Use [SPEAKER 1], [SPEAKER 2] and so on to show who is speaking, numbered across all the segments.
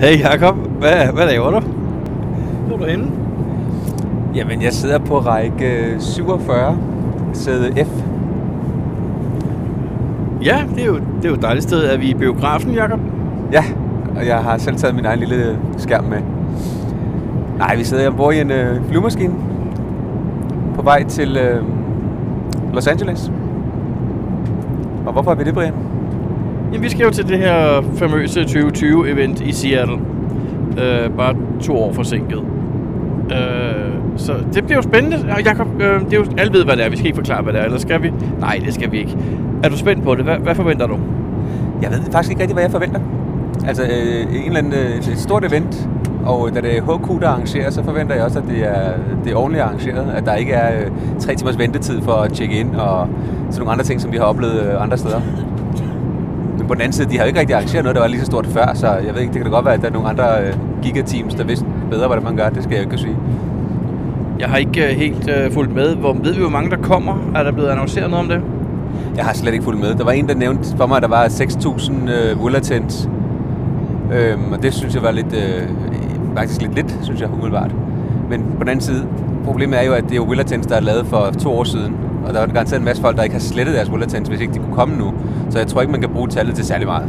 [SPEAKER 1] Hey Jakob, hvad, hvad laver du?
[SPEAKER 2] Hvor er du henne?
[SPEAKER 3] Jamen, jeg sidder på række 47, sæde F.
[SPEAKER 2] Ja, det er jo, det er jo et dejligt sted. Er vi i biografen, Jakob?
[SPEAKER 3] Ja, og jeg har selv taget min egen lille øh, skærm med. Nej, vi sidder ombord i en øh, flyvemaskine på vej til øh, Los Angeles. Og hvorfor er vi det, Brian?
[SPEAKER 2] Jamen, vi skal jo til det her famøse 2020-event i Seattle. Øh, bare to år forsinket. Øh, så det bliver jo spændende. Og Jakob, øh, det er jo, alle ved, hvad det er. Vi skal ikke forklare, hvad det er. Eller skal vi? Nej, det skal vi ikke. Er du spændt på det? Hvad, hvad forventer du?
[SPEAKER 3] Jeg ved faktisk ikke rigtig, hvad jeg forventer. Altså, øh, en eller anden, øh, et stort event, og da det er HQ, der arrangerer, så forventer jeg også, at det er, det er ordentligt arrangeret. At der ikke er øh, tre timers ventetid for at tjekke ind og sådan nogle andre ting, som vi har oplevet øh, andre steder. Men på den anden side, de har jo ikke rigtig arrangeret noget, der var lige så stort før, så jeg ved ikke, det kan da godt være, at der er nogle andre øh, gigateams, der vidste bedre, hvordan man gør. Det skal jeg jo ikke kunne sige.
[SPEAKER 2] Jeg har ikke øh, helt øh, fulgt med. Hvor, ved vi, hvor mange der kommer? Er der blevet annonceret noget om det?
[SPEAKER 3] Jeg har slet ikke fulgt med. Der var en, der nævnte for mig, at der var 6.000 øh, Willertens. Øhm, og det synes jeg var lidt, øh, faktisk lidt lidt, synes jeg umiddelbart. Men på den anden side, problemet er jo, at det er jo Willertens, der er lavet for to år siden. Og der er garanteret en masse folk, der ikke har slettet deres Willertens, hvis ikke de kunne komme nu. Så jeg tror ikke, man kan bruge tallet til særlig meget.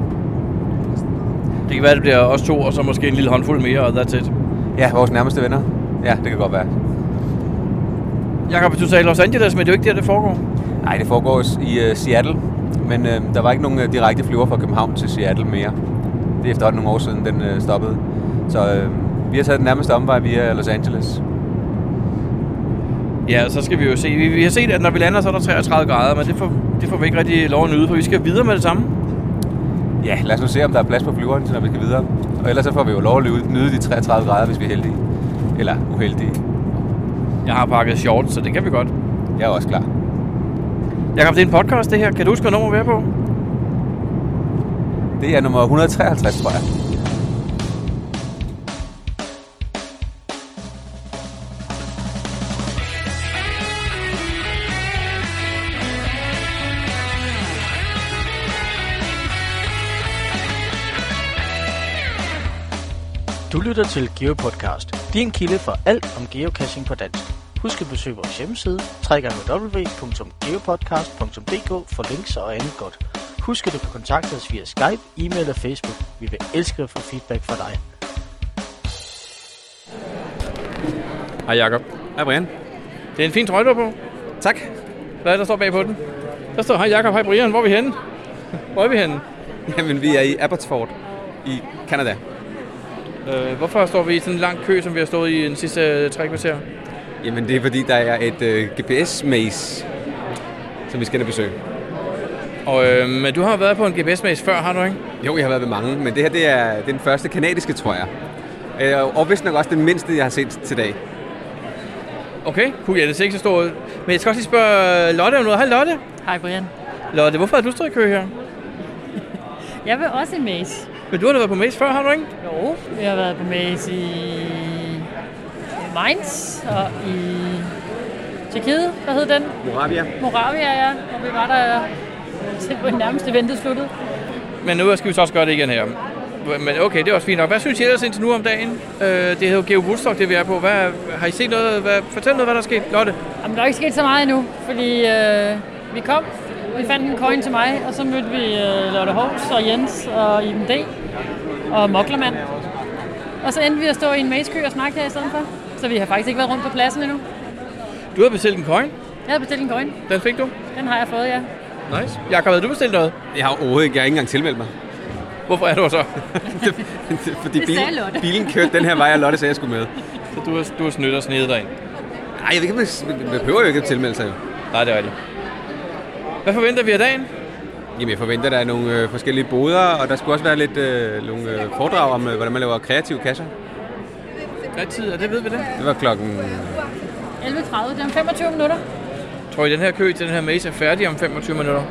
[SPEAKER 2] Det kan være, det bliver os to, og så måske en lille håndfuld mere, og that's it.
[SPEAKER 3] Ja, vores nærmeste venner. Ja, det kan godt være.
[SPEAKER 2] Jakob, du sagde Los Angeles, men det er jo ikke der, det foregår.
[SPEAKER 3] Nej, det foregår s- i øh, Seattle, men øh, der var ikke nogen øh, direkte flyver fra København til Seattle mere. Det er efterhånden nogle år siden, den øh, stoppede. Så øh, vi har taget den nærmeste omvej via Los Angeles.
[SPEAKER 2] Ja, så skal vi jo se. Vi, vi har set, at når vi lander, så er der 33 grader, men det får, det får vi ikke rigtig lov at nyde, for vi skal videre med det samme.
[SPEAKER 3] Ja, lad os nu se, om der er plads på flyveren, til når vi skal videre. Og ellers så får vi jo lov at lyde- nyde de 33 grader, hvis vi er heldige. Eller uheldige.
[SPEAKER 2] Jeg har pakket shorts, så det kan vi godt.
[SPEAKER 3] Jeg er også klar.
[SPEAKER 2] Jakob, det er en podcast, det her. Kan du huske, hvad nummer vi er på?
[SPEAKER 3] Det er nummer 153, tror jeg.
[SPEAKER 4] Du lytter til GeoPodcast, din kilde for alt om geocaching på dansk. Husk at besøge vores hjemmeside, www.geopodcast.dk for links og andet godt. Husk at du kan kontakte os via Skype, e-mail og Facebook. Vi vil elske at få feedback fra dig.
[SPEAKER 2] Hej, Jakob.
[SPEAKER 3] Hej Brian.
[SPEAKER 2] Det er en fin trøje, du har på.
[SPEAKER 3] Tak.
[SPEAKER 2] Hvad er det, der står bag på den? Der står, hej Jakob, hej Brian, hvor er vi henne? Hvor er vi henne?
[SPEAKER 3] Jamen, vi er i Abbotsford i Canada.
[SPEAKER 2] Øh, hvorfor står vi i sådan en lang kø, som vi har stået i den sidste øh, tre kvarter?
[SPEAKER 3] Jamen, det er fordi, der er et øh, GPS-maze, som vi skal ind og besøge.
[SPEAKER 2] Og, øh, men du har været på en GPS-maze før, har du ikke?
[SPEAKER 3] Jo, jeg har været ved mange, men det her det er det er den første kanadiske, tror jeg. Øh, Og vist nok også den mindste, jeg har set til dag.
[SPEAKER 2] Okay, cool, ja, det ser ikke så stort ud. Men jeg skal også lige spørge øh, Lotte om noget. Hej Lotte.
[SPEAKER 5] Hej Brian.
[SPEAKER 2] Lotte, hvorfor har du stået i kø her?
[SPEAKER 5] Jeg vil også i Maze.
[SPEAKER 2] Men du har da været på maze før, har du ikke?
[SPEAKER 5] Jo. Jeg har været på Maze i Mainz og i Tjekkiet. Hvad hed den?
[SPEAKER 3] Moravia.
[SPEAKER 5] Moravia, ja. Hvor vi var der til på nærmest eventet sluttede.
[SPEAKER 2] Men nu skal vi så også gøre det igen her. Men okay, det er også fint nok. Hvad synes I ellers indtil nu om dagen? Øh, det hedder jo Geo Woodstock, det vi er på. Hvad, har I set noget? Hvad, fortæl noget, hvad der er sket. Lotte,
[SPEAKER 5] Jamen, der er ikke sket så meget endnu, fordi øh, vi kom, vi fandt en coin til mig, og så mødte vi øh, Lotte Hovs og Jens og Iben D. og Moklermand. Og så endte vi at stå i en mazekø og snakke her i stedet for. Så vi har faktisk ikke været rundt på pladsen endnu.
[SPEAKER 2] du har bestilt en coin.
[SPEAKER 5] Jeg havde bestilt en coin.
[SPEAKER 2] Den fik du.
[SPEAKER 5] Den har jeg fået, ja.
[SPEAKER 2] Nice. Jakob, havde du bestilt noget?
[SPEAKER 3] Jeg har overhovedet ikke, jeg har ikke engang tilmeldt mig.
[SPEAKER 2] Hvorfor er du så?
[SPEAKER 3] Fordi
[SPEAKER 5] Det sagde Lotte.
[SPEAKER 3] bilen kørte den her vej, og Lotte sagde, jeg skulle med.
[SPEAKER 2] Så du har, du har snydt og snedet dig ind.
[SPEAKER 3] Nej, jeg ved ikke, man, man behøver jo ikke at tilmelde sig. Jo.
[SPEAKER 2] Nej, det er rigtigt. Hvad forventer vi af dagen?
[SPEAKER 3] Jamen, jeg forventer, der er nogle øh, forskellige boder, og der skulle også være lidt øh, nogle øh, foredrag om, øh, hvordan man laver kreative kasser.
[SPEAKER 2] Hvad tid er det, ved vi det?
[SPEAKER 3] Det var klokken...
[SPEAKER 5] 11.30, det er om 25 minutter.
[SPEAKER 2] Tror I, den her kø til den her maze er færdig om 25 minutter?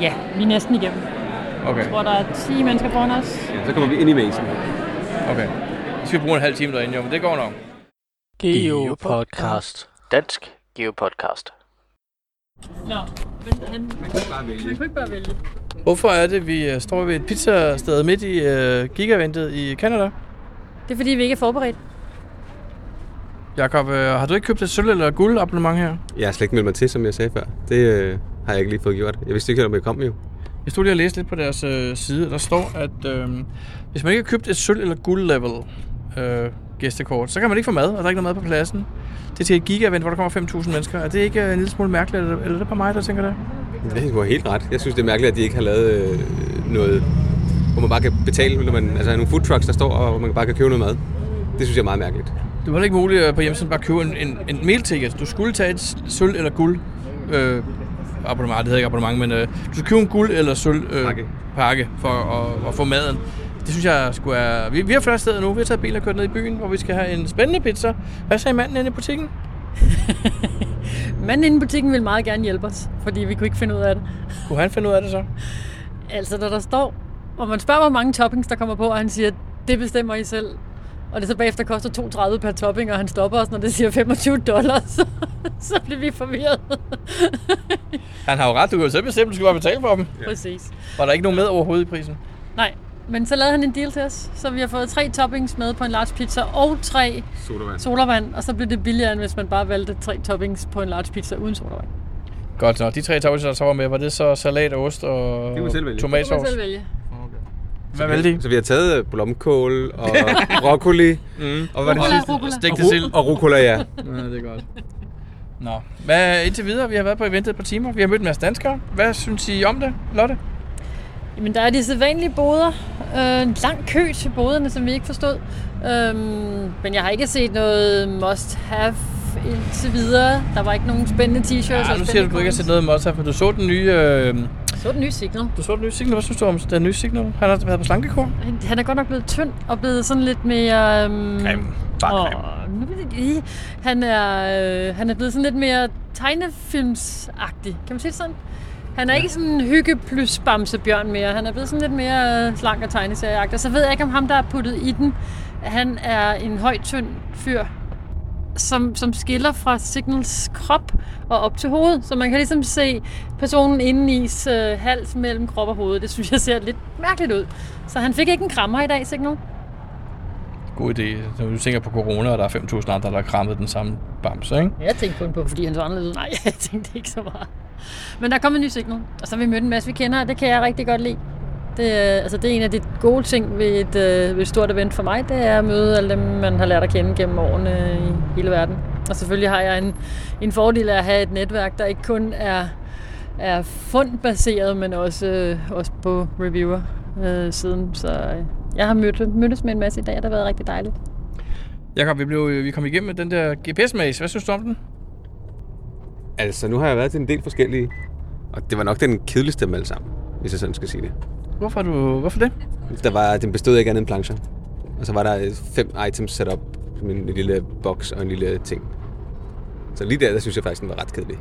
[SPEAKER 5] Ja, vi er næsten igennem.
[SPEAKER 2] Okay,
[SPEAKER 5] Hvor der er 10 mennesker foran os.
[SPEAKER 3] Så kommer vi ind i mæsen.
[SPEAKER 2] okay. Så skal vi bruge en halv time derinde, jo, men det går nok.
[SPEAKER 4] GeoPodcast. Dansk GeoPodcast.
[SPEAKER 5] Nå, men han, man kunne ikke bare vælge.
[SPEAKER 2] Hvorfor er det, vi øh, står ved et pizzasted midt i øh, gigaventet i Canada?
[SPEAKER 5] Det er fordi, vi ikke er forberedt.
[SPEAKER 2] Jakob, øh, har du ikke købt et sølv- eller guld abonnement her?
[SPEAKER 3] Jeg har slet ikke meldt mig til, som jeg sagde før. Det øh, har jeg ikke lige fået gjort. Jeg vidste ikke, om jeg kom jo.
[SPEAKER 2] Jeg stod lige og læste lidt på deres øh, side, der står, at øh, hvis man ikke har købt et sølv- eller guld-level øh, gæstekort, så kan man ikke få mad, og der er ikke noget mad på pladsen. Det er til et giga-event, hvor der kommer 5.000 mennesker. Er det ikke øh, en lille smule mærkeligt, eller, eller er det bare mig, der tænker det?
[SPEAKER 3] Det var helt ret. Jeg synes, det er mærkeligt, at de ikke har lavet øh, noget, hvor man bare kan betale. Når man, altså nogle food trucks, der står, og hvor man bare kan købe noget mad. Det synes jeg er meget mærkeligt.
[SPEAKER 2] Det var heller ikke muligt øh, på hjemmesiden bare at købe en, en, en mealticket. Du skulle tage et s- sølv- eller guld øh, abonnement. Det hedder ikke abonnement, men øh, du skulle købe en guld- eller sølv øh,
[SPEAKER 3] Pakke.
[SPEAKER 2] pakke for at, at få maden. Det synes jeg skulle er... Vi, vi har flere steder nu. Vi har taget biler og kørt ned i byen, hvor vi skal have en spændende pizza. Hvad sagde manden inde i butikken?
[SPEAKER 5] Manden inde i butikken ville meget gerne hjælpe os, fordi vi kunne ikke finde ud af det.
[SPEAKER 2] Kunne han finde ud af det så?
[SPEAKER 5] Altså, når der står, og man spørger, hvor mange toppings der kommer på, og han siger, det bestemmer I selv. Og det så bagefter koster 2,30 per topping, og han stopper os, når det siger 25 dollars. Så, så bliver vi forvirret.
[SPEAKER 2] Han har jo ret. Du kan jo selv bestemme, du skal bare betale for dem.
[SPEAKER 5] Ja. Præcis.
[SPEAKER 2] Var der ikke nogen med overhovedet i prisen?
[SPEAKER 5] Nej, men så lavede han en deal til os, så vi har fået tre toppings med på en large pizza og tre
[SPEAKER 3] Sodavand.
[SPEAKER 5] sodavand, og så blev det billigere, end hvis man bare valgte tre toppings på en large pizza uden sodavand.
[SPEAKER 2] Godt så. De tre tavler, der så var med, var det så salat, ost og
[SPEAKER 3] Det må selv vælge.
[SPEAKER 5] Det kan man
[SPEAKER 2] tomatsovs?
[SPEAKER 5] selv vælge.
[SPEAKER 2] Hvad valgte de?
[SPEAKER 3] Så vi har taget øh, blomkål og broccoli. mm. Og hvad var det
[SPEAKER 5] Rucola,
[SPEAKER 3] sidste?
[SPEAKER 5] rucola.
[SPEAKER 2] Stegte
[SPEAKER 3] Og,
[SPEAKER 2] sild.
[SPEAKER 3] ru- og rucola, ja.
[SPEAKER 2] Ja, det er godt. Nå, hvad, indtil videre, vi har været på eventet et par timer. Vi har mødt en masse danskere. Hvad synes I om det, Lotte?
[SPEAKER 5] Jamen, der er de sædvanlige boder. Øh, en lang kø til boderne, som vi ikke forstod. Øhm, men jeg har ikke set noget must-have indtil videre. Der var ikke nogen spændende t-shirts.
[SPEAKER 2] Ja,
[SPEAKER 5] og
[SPEAKER 2] Altså, nu siger du,
[SPEAKER 5] spændende
[SPEAKER 2] at du ikke har
[SPEAKER 5] coins.
[SPEAKER 2] set noget med os her, for du så den nye... Øh,
[SPEAKER 5] Så den nye signal.
[SPEAKER 2] du så den nye signal. Hvad synes du om den nye signal? Han har været på slankekur.
[SPEAKER 5] Han, han er godt nok blevet tynd og blevet sådan lidt mere... Øhm,
[SPEAKER 2] Grim. Bare
[SPEAKER 5] og,
[SPEAKER 2] grim.
[SPEAKER 5] nu ved jeg ikke lige. han, er, øh, han er blevet sådan lidt mere tegnefilmsagtig. Kan man sige det sådan? Han er ja. ikke sådan en hygge plus bamsebjørn mere. Han er blevet sådan lidt mere øh, slank og tegneserieagtig. Og så ved jeg ikke, om ham, der er puttet i den, han er en høj, tynd fyr, som, som skiller fra Signals krop og op til hovedet. Så man kan ligesom se personen indenis øh, hals mellem krop og hoved. Det synes jeg ser lidt mærkeligt ud. Så han fik ikke en krammer i dag, Signal.
[SPEAKER 2] God idé. Når du tænker på corona, og der er 5.000 andre, der har krammet den samme bamse, ikke?
[SPEAKER 5] Jeg tænkte kun på, fordi han så anderledes ud. Nej, jeg tænkte ikke så meget. Men der kom en ny signal, og så har vi mødt en masse, vi kender, og det kan jeg rigtig godt lide. Det, er- altså, det er en af de gode ting ved et, øh, ved et stort event for mig, det er at møde alle dem, man har lært at kende gennem årene i hele verden. Og selvfølgelig har jeg en, en fordel af at have et netværk, der ikke kun er, er fundbaseret, men også, øh, også på reviewer øh, siden. Så øh, jeg har mødt, mødtes med en masse i dag, og det har været rigtig dejligt.
[SPEAKER 2] Jakob, vi, blev, vi kom igennem med den der GPS-maze. Hvad synes du om den?
[SPEAKER 3] Altså, nu har jeg været til en del forskellige. Og det var nok den kedeligste af dem alle sammen, hvis jeg sådan skal sige det.
[SPEAKER 2] Hvorfor, er du, hvorfor det?
[SPEAKER 3] Der var, den bestod ikke af andet end plancher. Og så var der øh, fem items sat op med en lille boks og en lille ting. Så lige der, der synes jeg faktisk, den var ret kedelig.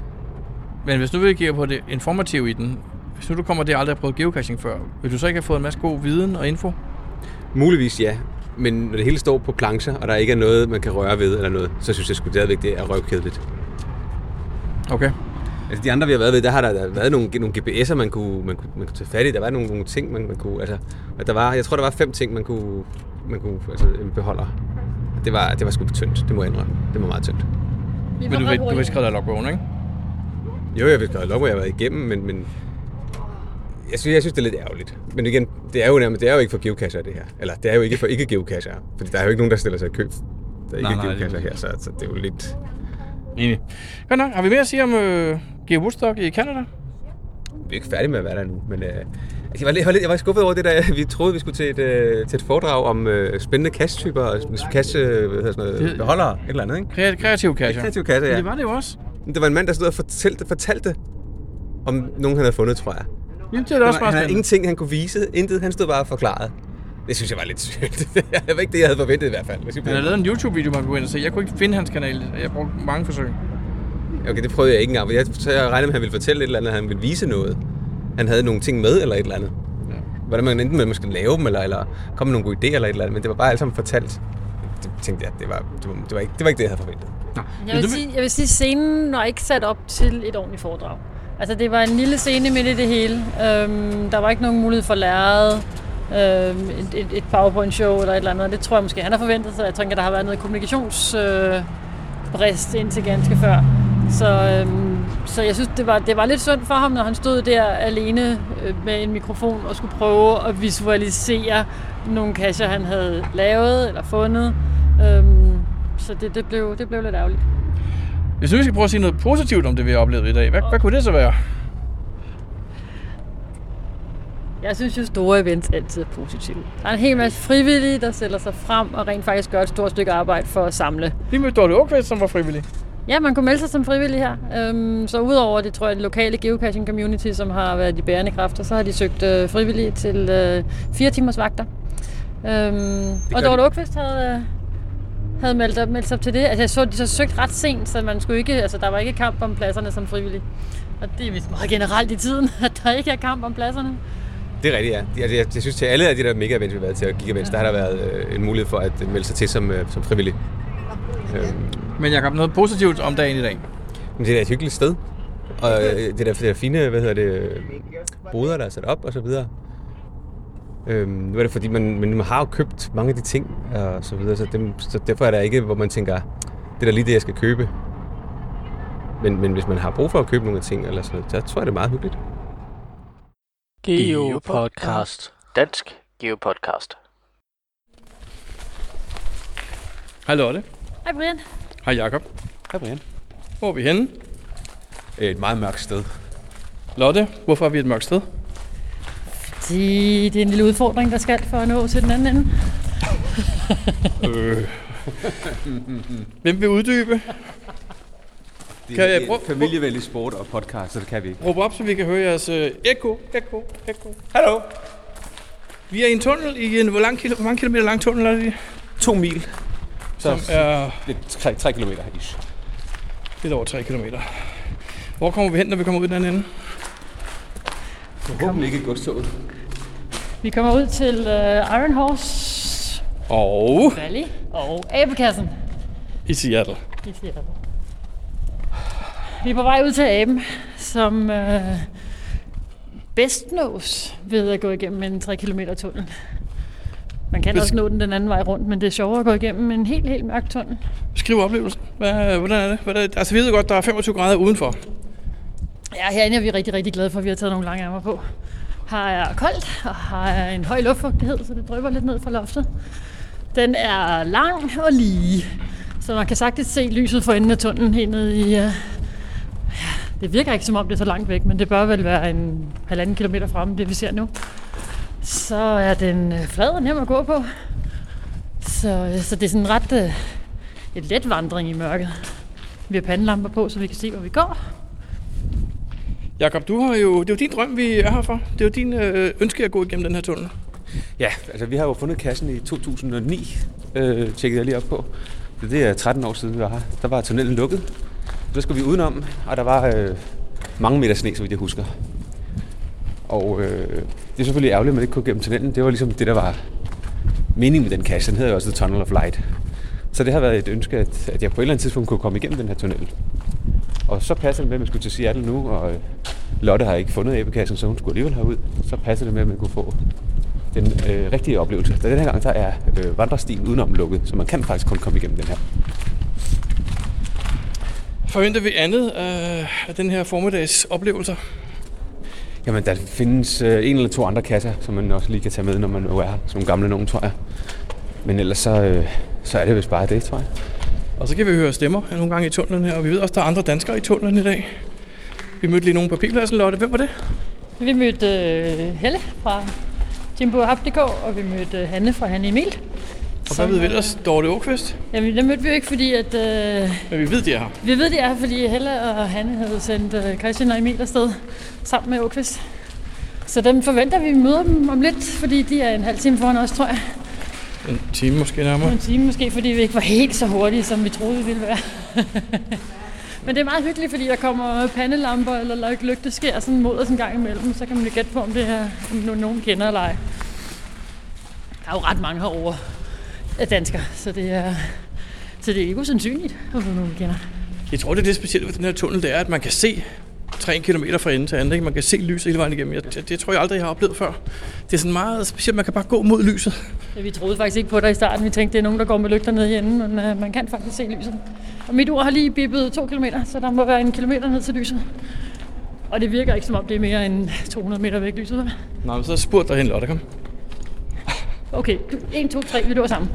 [SPEAKER 2] Men hvis nu vi kigger på det informative i den, hvis nu du kommer der aldrig har prøvet geocaching før, vil du så ikke have fået en masse god viden og info?
[SPEAKER 3] Muligvis ja, men når det hele står på plancher, og der ikke er noget, man kan røre ved eller noget, så synes jeg sgu stadigvæk, det er røvkedeligt.
[SPEAKER 2] Okay.
[SPEAKER 3] Altså de andre, vi har været ved, der har der, der været nogle, nogle GPS'er, man kunne, man, kunne, man kunne tage fat i. Der var nogle, nogle ting, man, man kunne... Altså, at der var, jeg tror, der var fem ting, man kunne... Man kunne altså, en beholder. Det var, det var sgu tyndt, det må jeg indrømme. Det var meget tyndt.
[SPEAKER 2] Men du, ved- du vil skrive dig logbone, ikke?
[SPEAKER 3] Jo, jeg ved godt, hvor jeg har været igennem, men, men jeg synes, jeg synes, det er lidt ærgerligt. Men igen, det er jo, nærmest, det er jo ikke for geocacher, det her. Eller det er jo ikke for ikke-geocacher, fordi der er jo ikke nogen, der stiller sig i køb. Der er
[SPEAKER 2] Nej,
[SPEAKER 3] ikke
[SPEAKER 2] nej, det er
[SPEAKER 3] geocacher her, så, så det er jo lidt...
[SPEAKER 2] Enig. Godt nok. Har vi mere at sige om øh, Geo Woodstock i Canada?
[SPEAKER 3] Vi er ikke færdige med at være der nu, men øh, altså, jeg, var, lidt- jeg, var lidt, jeg var skuffet over det der, vi troede, vi skulle til et, øh, til et foredrag om øh, spændende kassetyper, og kasse, hvad hedder sådan noget,
[SPEAKER 2] Det-
[SPEAKER 3] beholdere, et eller andet, ikke?
[SPEAKER 2] Kreat- kreative cacher.
[SPEAKER 3] Kreativ kasse,
[SPEAKER 2] Men
[SPEAKER 3] ja.
[SPEAKER 2] Det var det jo også.
[SPEAKER 3] Men Der var en mand, der stod og fortalte, fortalte om nogen, han havde fundet, tror jeg.
[SPEAKER 2] Jamen, det er da også
[SPEAKER 3] Det var,
[SPEAKER 2] bare
[SPEAKER 3] han havde
[SPEAKER 2] spændende.
[SPEAKER 3] ingenting, han kunne vise, intet, han stod bare og forklarede. Det synes jeg var lidt sygt. det var ikke det, jeg havde forventet i hvert fald. hvis jeg
[SPEAKER 2] Han har
[SPEAKER 3] bliver-
[SPEAKER 2] lavet en YouTube-video, man kan gå ind og se. Jeg kunne ikke finde hans kanal. Jeg brugte mange forsøg.
[SPEAKER 3] Okay, det prøvede jeg ikke engang, for jeg, så jeg regnede med, at han ville fortælle et eller andet, at han ville vise noget. Han havde nogle ting med eller et eller andet.
[SPEAKER 2] Ja.
[SPEAKER 3] Ja. Hvordan man enten man skal lave dem, eller, eller komme med nogle gode idéer eller et eller andet, men det var bare alt sammen fortalt. Det tænkte jeg, det var, det var, det var, ikke, det var ikke det, jeg havde forventet.
[SPEAKER 5] Jeg vil,
[SPEAKER 2] det-
[SPEAKER 5] sige, jeg vil sige, at scenen var ikke sat op til et ordentligt foredrag. Altså, det var en lille scene midt i det hele. Øhm, der var ikke nogen mulighed for lærred. øh, et, et, et PowerPoint-show eller et eller andet. og Det tror jeg måske, han har forventet sig. Jeg tænker, der har været noget kommunikationsbrist øh, brist indtil ganske før. Så, øh, så jeg synes, det var, det var lidt synd for ham, når han stod der alene øh, med en mikrofon og skulle prøve at visualisere nogle kasser, han havde lavet eller fundet. Øh, så det, det, blev, det blev lidt ærgerligt.
[SPEAKER 2] Hvis nu vi skal prøve at sige noget positivt om det, vi har oplevet i dag, hvad, hvad kunne det så være?
[SPEAKER 5] Jeg synes jo, store events altid er positive. Der er en hel masse frivillige, der stiller sig frem og rent faktisk gør et stort stykke arbejde for at samle.
[SPEAKER 2] Vi mødte Dorte Åkvist, som var frivillig.
[SPEAKER 5] Ja, man kunne melde sig som frivillig her. Øhm, så udover det, tror jeg, det lokale geocaching community, som har været de bærende kræfter, så har de søgt øh, frivillige til øh, fire timers vagter. Øhm, og
[SPEAKER 6] gør
[SPEAKER 5] Dorte
[SPEAKER 6] de.
[SPEAKER 5] Åkvist havde, øh, havde meldt, op, meldt sig op til det. Altså, jeg så, de så søgt ret sent, så man skulle ikke, altså, der var ikke kamp om pladserne som frivillig. Og det er vist meget generelt i tiden, at der ikke er kamp om pladserne.
[SPEAKER 6] Det er rigtigt, ja.
[SPEAKER 3] Altså,
[SPEAKER 6] Jeg, jeg, jeg synes til alle af de der mega events, vi har været til, og gig events, der har der været øh, en mulighed for at melde sig til som, øh, som frivillig. Øh,
[SPEAKER 2] Men Jacob, noget positivt om dagen i dag.
[SPEAKER 6] men det er da et hyggeligt sted. Og øh, det er da det der fine, hvad hedder det, øh, boder, der er sat op og så videre. Øhm, nu er det fordi, man, men man har jo købt mange af de ting og så videre, så, dem, så derfor er der ikke, hvor man tænker, det er da lige det, jeg skal købe. Men, men hvis man har brug for at købe nogle af ting, eller sådan noget, så tror jeg, det er meget hyggeligt.
[SPEAKER 4] Geopodcast. Dansk Geopodcast.
[SPEAKER 2] Hej Lotte.
[SPEAKER 5] Hej Brian.
[SPEAKER 2] Hej Jacob.
[SPEAKER 3] Hej Brian.
[SPEAKER 2] Hvor er vi henne?
[SPEAKER 6] Et meget mørkt sted.
[SPEAKER 2] Lotte, hvorfor er vi et mørkt sted?
[SPEAKER 5] Det, det er en lille udfordring, der skal for at nå til den anden ende.
[SPEAKER 2] Hvem vil uddybe?
[SPEAKER 3] Det
[SPEAKER 2] Kan jeg
[SPEAKER 3] en
[SPEAKER 2] prøve-
[SPEAKER 3] familievenlig sport og podcast, så det kan vi ikke.
[SPEAKER 2] Råb op, så vi kan høre jeres øh, ekko, ekko, ekko. Hallo. Vi er i en tunnel i en... Hvor, lang kilo, hvor mange kilometer lang tunnel er det?
[SPEAKER 3] To mil. Så
[SPEAKER 2] Som er
[SPEAKER 3] lidt 3, 3 kilometer ish.
[SPEAKER 2] lidt over 3 kilometer. Hvor kommer vi hen, når vi kommer ud den anden ende?
[SPEAKER 3] Forhåbentlig ikke et godstoget.
[SPEAKER 5] Vi kommer ud til uh, Iron Horse
[SPEAKER 2] Og
[SPEAKER 5] Valley og Abekassen
[SPEAKER 2] i Seattle.
[SPEAKER 5] i Seattle. Vi er på vej ud til aben, som uh, bedst nås ved at gå igennem en 3 km tunnel. Man kan
[SPEAKER 2] Besk-
[SPEAKER 5] også nå den den anden vej rundt, men det er sjovere at gå igennem en helt, helt mørk tunnel.
[SPEAKER 2] Skriv oplevelsen. Hvad, hvordan er det? Hvordan, altså, vi ved godt, der er 25 grader udenfor.
[SPEAKER 5] Ja, herinde er vi rigtig, rigtig glade for, at vi har taget nogle lange ærmer på. Her er koldt, og her er en høj luftfugtighed, så det drypper lidt ned fra loftet. Den er lang og lige, så man kan sagtens se lyset for enden af tunnelen helt ned i... øh, Ja, det virker ikke, som om det er så langt væk, men det bør vel være en halvanden kilometer fremme, det vi ser nu. Så er den øh, flad og nem at gå på. Så, øh, så det er sådan ret øh, et let vandring i mørket. Vi har pandelamper på, så vi kan se, hvor vi går.
[SPEAKER 2] Jakob, du har jo, det er jo din drøm, vi er her for. Det er jo din øh, ønske at gå igennem den her tunnel.
[SPEAKER 3] Ja, altså vi har jo fundet kassen i 2009, øh, tjekkede jeg lige op på. Det det er 13 år siden, vi var her. Der var tunnelen lukket. Så der skulle vi udenom, og der var øh, mange meter sne, så vidt jeg husker. Og øh, det er selvfølgelig ærgerligt, at man ikke kunne gå gennem tunnelen. Det var ligesom det, der var meningen med den kasse. Den hedder jo også The Tunnel of Light. Så det har været et ønske, at, at jeg på et eller andet tidspunkt kunne komme igennem den her tunnel. Og så passer det med, at man skulle til Seattle nu, og øh, Lotte har ikke fundet æbekassen, så hun skulle alligevel herud. Så passer det med, at man kunne få den øh, rigtige oplevelse. Da den her gang, der er øh, vandrestien udenom lukket, så man kan faktisk kun komme igennem den her.
[SPEAKER 2] Forventer vi andet øh, af den her formiddags oplevelser?
[SPEAKER 3] Jamen, der findes øh, en eller to andre kasser, som man også lige kan tage med, når man nu er her. Sådan nogle gamle nogen, tror jeg. Men ellers så, øh, så er det vist bare det, tror jeg.
[SPEAKER 2] Og så kan vi høre stemmer nogle gange i tunnelen her, og vi ved også, der er andre danskere i tunnelen i dag. Vi mødte lige nogen på P-pladsen, Lotte. Hvem var det?
[SPEAKER 5] Vi mødte øh, Helle fra Jimbo Hapdiko, og vi mødte øh, Hanne fra Hanne Emil.
[SPEAKER 2] Og hvad
[SPEAKER 5] Som,
[SPEAKER 2] ved vi
[SPEAKER 5] øh,
[SPEAKER 2] ellers? Dorte Åkvist.
[SPEAKER 5] Jamen, dem mødte vi jo ikke, fordi at... Øh,
[SPEAKER 2] Men vi ved, de er her.
[SPEAKER 5] vi ved, det er, fordi Helle og Hanne havde sendt øh, Christian og Emil afsted sammen med Åkvist. Så dem forventer vi møder dem om lidt, fordi de er en halv time foran os, tror jeg.
[SPEAKER 2] En time måske nærmere.
[SPEAKER 5] En time måske, fordi vi ikke var helt så hurtige, som vi troede, vi ville være. Men det er meget hyggeligt, fordi der kommer pandelamper eller lygteskær sådan mod os en gang imellem. Så kan man jo gætte på, om det her om nu- nogen kender eller ej. Der er jo ret mange herovre af danskere, så det er, så det er ikke usandsynligt, at få nogen vi kender.
[SPEAKER 2] Mm. Jeg tror, det er det specielle ved den her tunnel, det er, at man kan se 3 km fra ende til anden. Ikke? Man kan se lyset hele vejen igennem. Jeg, det, det tror jeg aldrig, jeg har oplevet før. Det er sådan meget specielt. Man kan bare gå mod lyset.
[SPEAKER 5] Ja, vi troede faktisk ikke på dig i starten. Vi tænkte, det er nogen, der går med lygter ned herinde, men øh, man kan faktisk se lyset. Og mit ur har lige bippet to kilometer, så der må være en kilometer ned til lyset. Og det virker ikke, som om det er mere end 200 meter væk lyset. hva'?
[SPEAKER 2] Nå, men så spurgte der hen, Lotte, kom.
[SPEAKER 5] Okay, 1, 2, 3, vi løber sammen.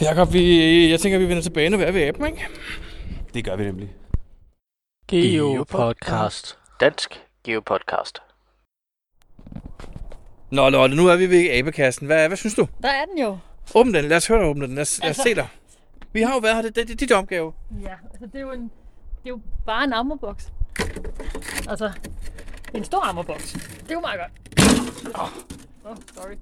[SPEAKER 2] Jakob, vi, jeg tænker, vi vender tilbage, når vi er ved aben, ikke?
[SPEAKER 3] Det gør vi nemlig.
[SPEAKER 4] Geo Podcast. Dansk Geo Podcast.
[SPEAKER 2] Nå, Lotte, nu er vi ved abekassen. Hvad, hvad synes du?
[SPEAKER 5] Der er den jo.
[SPEAKER 2] Åbn den. Lad os høre dig åbne den. Lad os, lad os
[SPEAKER 5] Altså-
[SPEAKER 2] se dig. Vi har jo været her. Det, det, det er dit opgave.
[SPEAKER 5] Ja, altså det er jo, en, det er jo bare en ammerboks. Altså, det er en stor ammerboks. Det er jo meget godt. Åh, oh, sorry.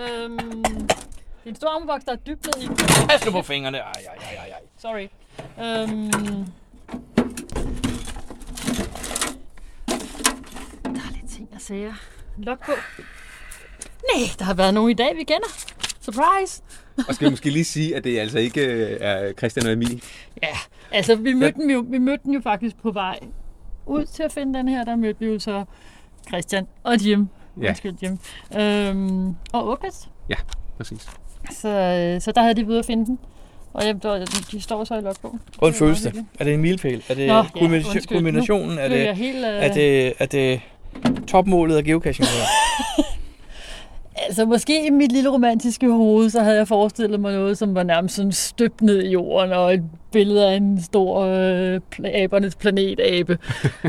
[SPEAKER 5] Øhm, det er en stor ammerboks, der er dybt ned i.
[SPEAKER 2] Pas nu på fingrene. Ej, ej, ej, ej, ej.
[SPEAKER 5] Sorry. Øhm, der er lidt ting at sige. Log på. Nej, der har været nogen i dag, vi kender. Surprise!
[SPEAKER 3] Og skal vi måske lige sige, at det altså ikke øh, er Christian og Emil.
[SPEAKER 5] Ja, altså vi mødte, den jo, vi mødte den jo faktisk på vej ud til at finde den her. Der mødte vi jo så Christian og Jim.
[SPEAKER 3] Ja.
[SPEAKER 5] Undskyld, Jim. Øhm, og Åkes.
[SPEAKER 3] Ja, præcis.
[SPEAKER 5] Så, øh, så der havde de været ude at finde den. Og jeg, der- de står så i logbogen.
[SPEAKER 2] Og en følelse. Er det en milepæl? Er det
[SPEAKER 5] Nå,
[SPEAKER 2] Nå,
[SPEAKER 5] ja,
[SPEAKER 2] kulmination,
[SPEAKER 5] undskyld. Nu
[SPEAKER 2] kulminationen? Er
[SPEAKER 5] blev
[SPEAKER 2] det,
[SPEAKER 5] jeg helt, øh,
[SPEAKER 2] er det, er det topmålet af geocaching? det her?
[SPEAKER 5] Altså måske i mit lille romantiske hoved, så havde jeg forestillet mig noget, som var nærmest sådan støbt ned i jorden, og et billede af en stor øh, pla- abernes planetabe.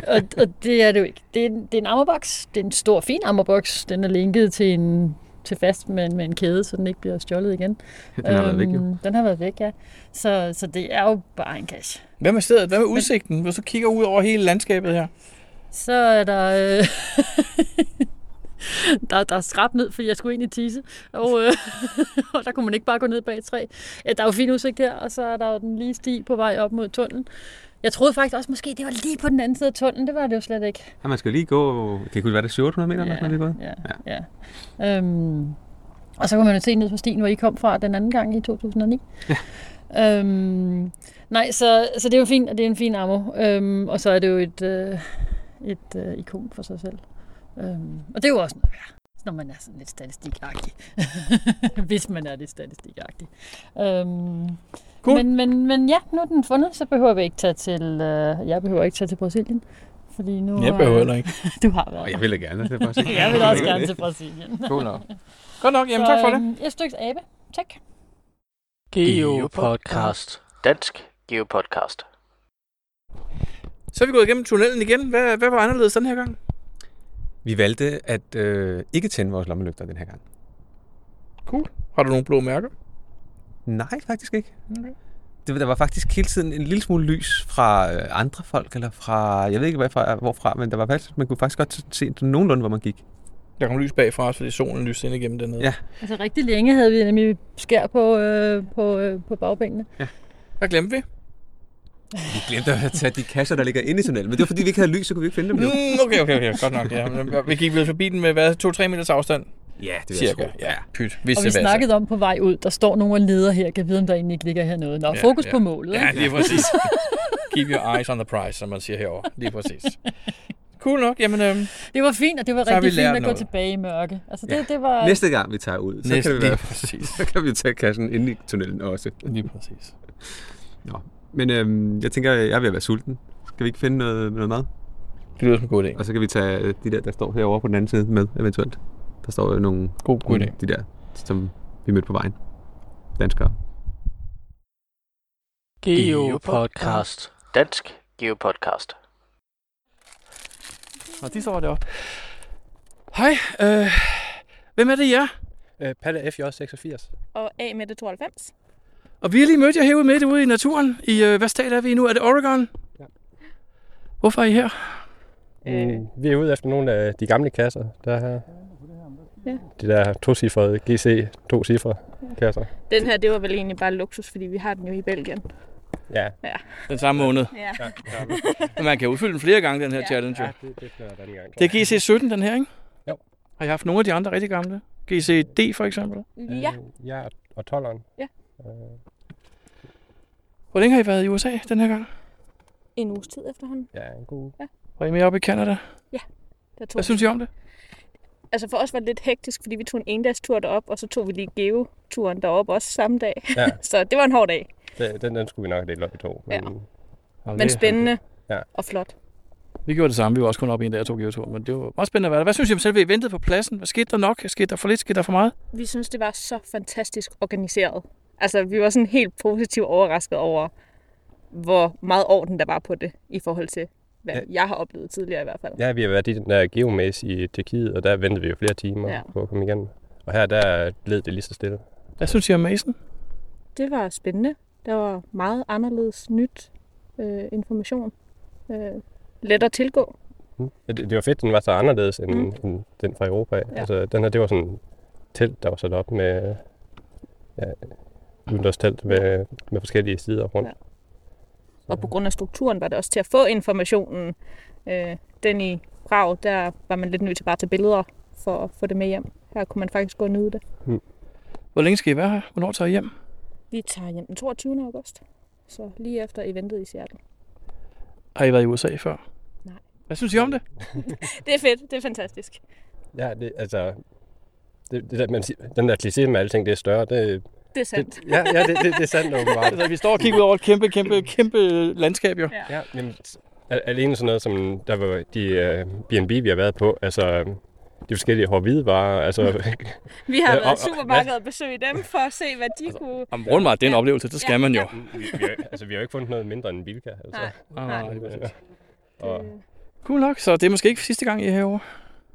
[SPEAKER 5] og, og det er det jo ikke. Det er, en- det er en ammerboks. Det er en stor, fin ammerboks. Den er linket til en til fast med, en- med en kæde, så den ikke bliver stjålet igen. Den
[SPEAKER 3] har været væk, jo.
[SPEAKER 5] Den har været væk, ja. Så, så det er jo bare en cash.
[SPEAKER 2] Hvad med stedet? Hvad med udsigten? Hvis du kigger ud over hele landskabet her.
[SPEAKER 5] Så er der... Øh, der, der er skrab ned, fordi jeg skulle ind i tise. Og, øh, og der kunne man ikke bare gå ned bag et træ. Ja, der er jo fin udsigt her, og så er der jo den lige sti på vej op mod tunnelen. Jeg troede faktisk også måske, det var lige på den anden side af tunnelen. Det var det jo slet ikke.
[SPEAKER 3] Ja, man skal lige gå, det kunne være det 700 meter, eller sådan noget, vi er gået.
[SPEAKER 5] ja, ja. Øhm, og så kunne man jo se ned på stien, hvor I kom fra den anden gang i 2009. Ja. Øhm, nej, så, så det er jo fint, og det er en fin ammo. Øhm, og så er det jo et, øh, et øh, ikon for sig selv. Øhm, og det er jo også noget værd, når man er sådan lidt statistikagtig. Hvis man er lidt statistikagtig. Øhm,
[SPEAKER 2] Cool.
[SPEAKER 5] men, men, men ja, nu er den fundet, så behøver vi ikke tage til, øh, jeg behøver ikke tage til Brasilien. Fordi nu har-
[SPEAKER 2] ikke.
[SPEAKER 5] Du har været
[SPEAKER 3] Og jeg ville gerne, det er bare
[SPEAKER 5] jeg vil også gerne til Brasilien.
[SPEAKER 2] Cool nok. Godt nok. Jamen, tak for det.
[SPEAKER 5] øhm, Et stykke abe. Tak.
[SPEAKER 4] Geo Podcast. Dansk Geo Podcast.
[SPEAKER 2] Så er vi gået igennem tunnelen igen. Hvad, hvad var anderledes den her gang?
[SPEAKER 3] Vi valgte at øh, ikke tænde vores lommelygter den her gang.
[SPEAKER 2] Cool. Har du nogle blå mærker?
[SPEAKER 3] Nej, faktisk ikke. Det, der var faktisk hele tiden en lille smule lys fra øh, andre folk, eller fra, jeg ved ikke hvad fra, hvorfra, men der var faktisk, man kunne faktisk godt se nogenlunde, hvor man gik.
[SPEAKER 2] Der kom lys bagfra os, fordi solen lyste ind igennem dernede.
[SPEAKER 3] Ja.
[SPEAKER 5] Altså rigtig længe havde vi nemlig skær på, øh, på, øh, på bagbenene.
[SPEAKER 2] Hvad glemte vi?
[SPEAKER 3] Vi glemte at tage de kasser, der ligger inde i tunnelen, men det var fordi, vi ikke havde lys, så kunne vi ikke finde dem nu.
[SPEAKER 2] Mm, okay, okay, okay. Godt nok, ja. Men øh, Vi gik vel forbi den med, hvad, to-tre meters afstand?
[SPEAKER 3] Ja, det vil jeg
[SPEAKER 2] Cirka.
[SPEAKER 3] tro.
[SPEAKER 2] Ja, pyt. Hvis
[SPEAKER 5] Og vi snakkede om på vej ud, der står nogle og leder her. Kan vide, om der egentlig ikke ligger her noget. Nå, ja, fokus ja. på målet.
[SPEAKER 2] Ja,
[SPEAKER 5] Ja.
[SPEAKER 2] lige præcis. Keep your eyes on the prize, som man siger herovre. Lige præcis. Cool nok. Jamen, øhm,
[SPEAKER 5] Det var fint, og det var
[SPEAKER 2] Så har
[SPEAKER 5] rigtig
[SPEAKER 2] vi
[SPEAKER 5] fint
[SPEAKER 2] lært
[SPEAKER 5] at gå
[SPEAKER 2] noget.
[SPEAKER 5] tilbage i mørke. Altså det,
[SPEAKER 3] Ja.
[SPEAKER 5] ja. det var...
[SPEAKER 3] Næste gang vi tager ud, så
[SPEAKER 2] næsten
[SPEAKER 3] kan, det være,
[SPEAKER 2] lige præcis.
[SPEAKER 3] så kan vi tage kassen inde i tunnelen også.
[SPEAKER 2] Lige præcis.
[SPEAKER 3] Nå. Men øhm, jeg tænker, jeg vil være sulten. Skal vi ikke finde noget, noget mad?
[SPEAKER 2] Det lyder som en god idé.
[SPEAKER 3] Og så kan vi tage øh, de der, der står herovre på den anden side med, eventuelt. Der står jo nogle
[SPEAKER 2] God, god idé.
[SPEAKER 3] de der, som vi mødte på vejen. Danskere.
[SPEAKER 4] Geo Podcast. Dansk Geo Podcast.
[SPEAKER 2] Og de står deroppe. Hej, øh, hvem er det jer?
[SPEAKER 7] Øh, Palle FJ86.
[SPEAKER 8] og af med det 92.
[SPEAKER 2] Og vi har lige mødt jer herude midt ude i naturen. I, øh, hvad stat er vi i nu? Er det Oregon?
[SPEAKER 7] Ja. Mm,
[SPEAKER 2] Hvorfor er I her?
[SPEAKER 7] Vi er ude efter nogle af de gamle kasser, der er her.
[SPEAKER 8] Ja.
[SPEAKER 7] De der tocifrede GC, to cifre kasser.
[SPEAKER 8] Den her, det var vel egentlig bare luksus, fordi vi har den jo i Belgien.
[SPEAKER 7] Ja.
[SPEAKER 2] Den samme måned.
[SPEAKER 8] Ja.
[SPEAKER 2] Men man kan udfylde den flere gange, den her ja. challenge. jo.
[SPEAKER 7] det, det bliver den gang.
[SPEAKER 2] Det er GC17, den her, ikke?
[SPEAKER 7] Jo.
[SPEAKER 2] Har I haft nogle af de andre rigtig gamle? GCD for eksempel.
[SPEAKER 8] ja.
[SPEAKER 7] Ja, og 12'eren.
[SPEAKER 2] Hvor længe har I været i USA den her gang?
[SPEAKER 8] en uges tid efterhånden.
[SPEAKER 7] Ja, en god uge.
[SPEAKER 2] Var I med oppe i Canada?
[SPEAKER 8] Der tog
[SPEAKER 2] Hvad synes I om det?
[SPEAKER 8] altså for os var det lidt hektisk, fordi vi tog en endagstur derop, og så tog vi lige geoturen derop også samme dag.
[SPEAKER 7] Ja.
[SPEAKER 8] så det var en hård dag,
[SPEAKER 7] Det- Den, den skulle vi nok dele op i to. Men, ja.
[SPEAKER 8] men spændende
[SPEAKER 7] Ja.
[SPEAKER 8] og flot.
[SPEAKER 2] Vi gjorde det samme. Vi var også kun oppe en dag og tog geotur, men det var meget spændende at være der. Hvad synes I om selve eventet på pladsen? Hvad skete der nok? Skete der for lidt? Skete der for meget?
[SPEAKER 8] Vi synes, det var så fantastisk organiseret. Altså, vi var sådan helt positivt overrasket over, hvor meget orden der var på det, i forhold til, hvad
[SPEAKER 7] Ja.
[SPEAKER 8] ja. jeg har oplevet tidligere i hvert fald.
[SPEAKER 7] ja, vi har været i den der geomæs i Tjekkiet, og der ventede vi jo flere timer ja.
[SPEAKER 8] Ja.
[SPEAKER 7] på at komme igen. Og her, der led det lige så stille.
[SPEAKER 2] Hvad synes I om Mason?
[SPEAKER 8] Det var spændende. Der var meget anderledes nyt øh, information. Øh, let at tilgå.
[SPEAKER 7] Ja, Det, det var fedt, den var så anderledes end, mm.
[SPEAKER 8] Mm.
[SPEAKER 7] end den fra Europa. Ja.
[SPEAKER 8] Ja.
[SPEAKER 7] Altså, den her, det var sådan et telt, der var sat op med ja, udendørs telt med, med forskellige sider rundt. Ja.
[SPEAKER 8] Ja. Og på grund af strukturen var det også til at få informationen. Øh, den i Prag, der var man lidt nødt til bare at tage billeder for at få det med hjem. Her kunne man faktisk gå og nyde det.
[SPEAKER 2] Hvor længe skal I være her? Hvornår tager I hjem?
[SPEAKER 8] Vi tager hjem den 22. august. Så lige efter eventet i Seattle.
[SPEAKER 2] Har I været i USA før?
[SPEAKER 8] Nej.
[SPEAKER 2] Hvad synes I om det?
[SPEAKER 8] Det er fedt. Det er fantastisk.
[SPEAKER 7] Ja, det, altså, det, det der, man siger, den der kliché med alting, det er større. Det,
[SPEAKER 8] Det er sandt.
[SPEAKER 7] det, ja, ja det, det, det er sandt åbenbart.
[SPEAKER 2] Altså, vi står og kigger ud over et kæmpe, kæmpe, kæmpe landskab jo.
[SPEAKER 7] Ja, men al- alene sådan noget som, der var de uh, B&B, vi har været på, altså de forskellige hårde hvidevarer, altså,
[SPEAKER 8] Vi har
[SPEAKER 7] Ja, og-
[SPEAKER 8] været i
[SPEAKER 7] og- Altså-
[SPEAKER 8] supermarkedet og besøgt dem for at se, hvad de kunne...
[SPEAKER 2] Om rundt meget, det er en oplevelse, det skal man jo.
[SPEAKER 7] vi, vi, har- altså, vi har jo ikke fundet noget mindre end Bilka. Altså.
[SPEAKER 8] Nej,
[SPEAKER 2] Ah,
[SPEAKER 8] nej.
[SPEAKER 2] det er præcis.
[SPEAKER 7] Og,
[SPEAKER 2] Cool nok, så det er måske ikke sidste gang, I er herovre.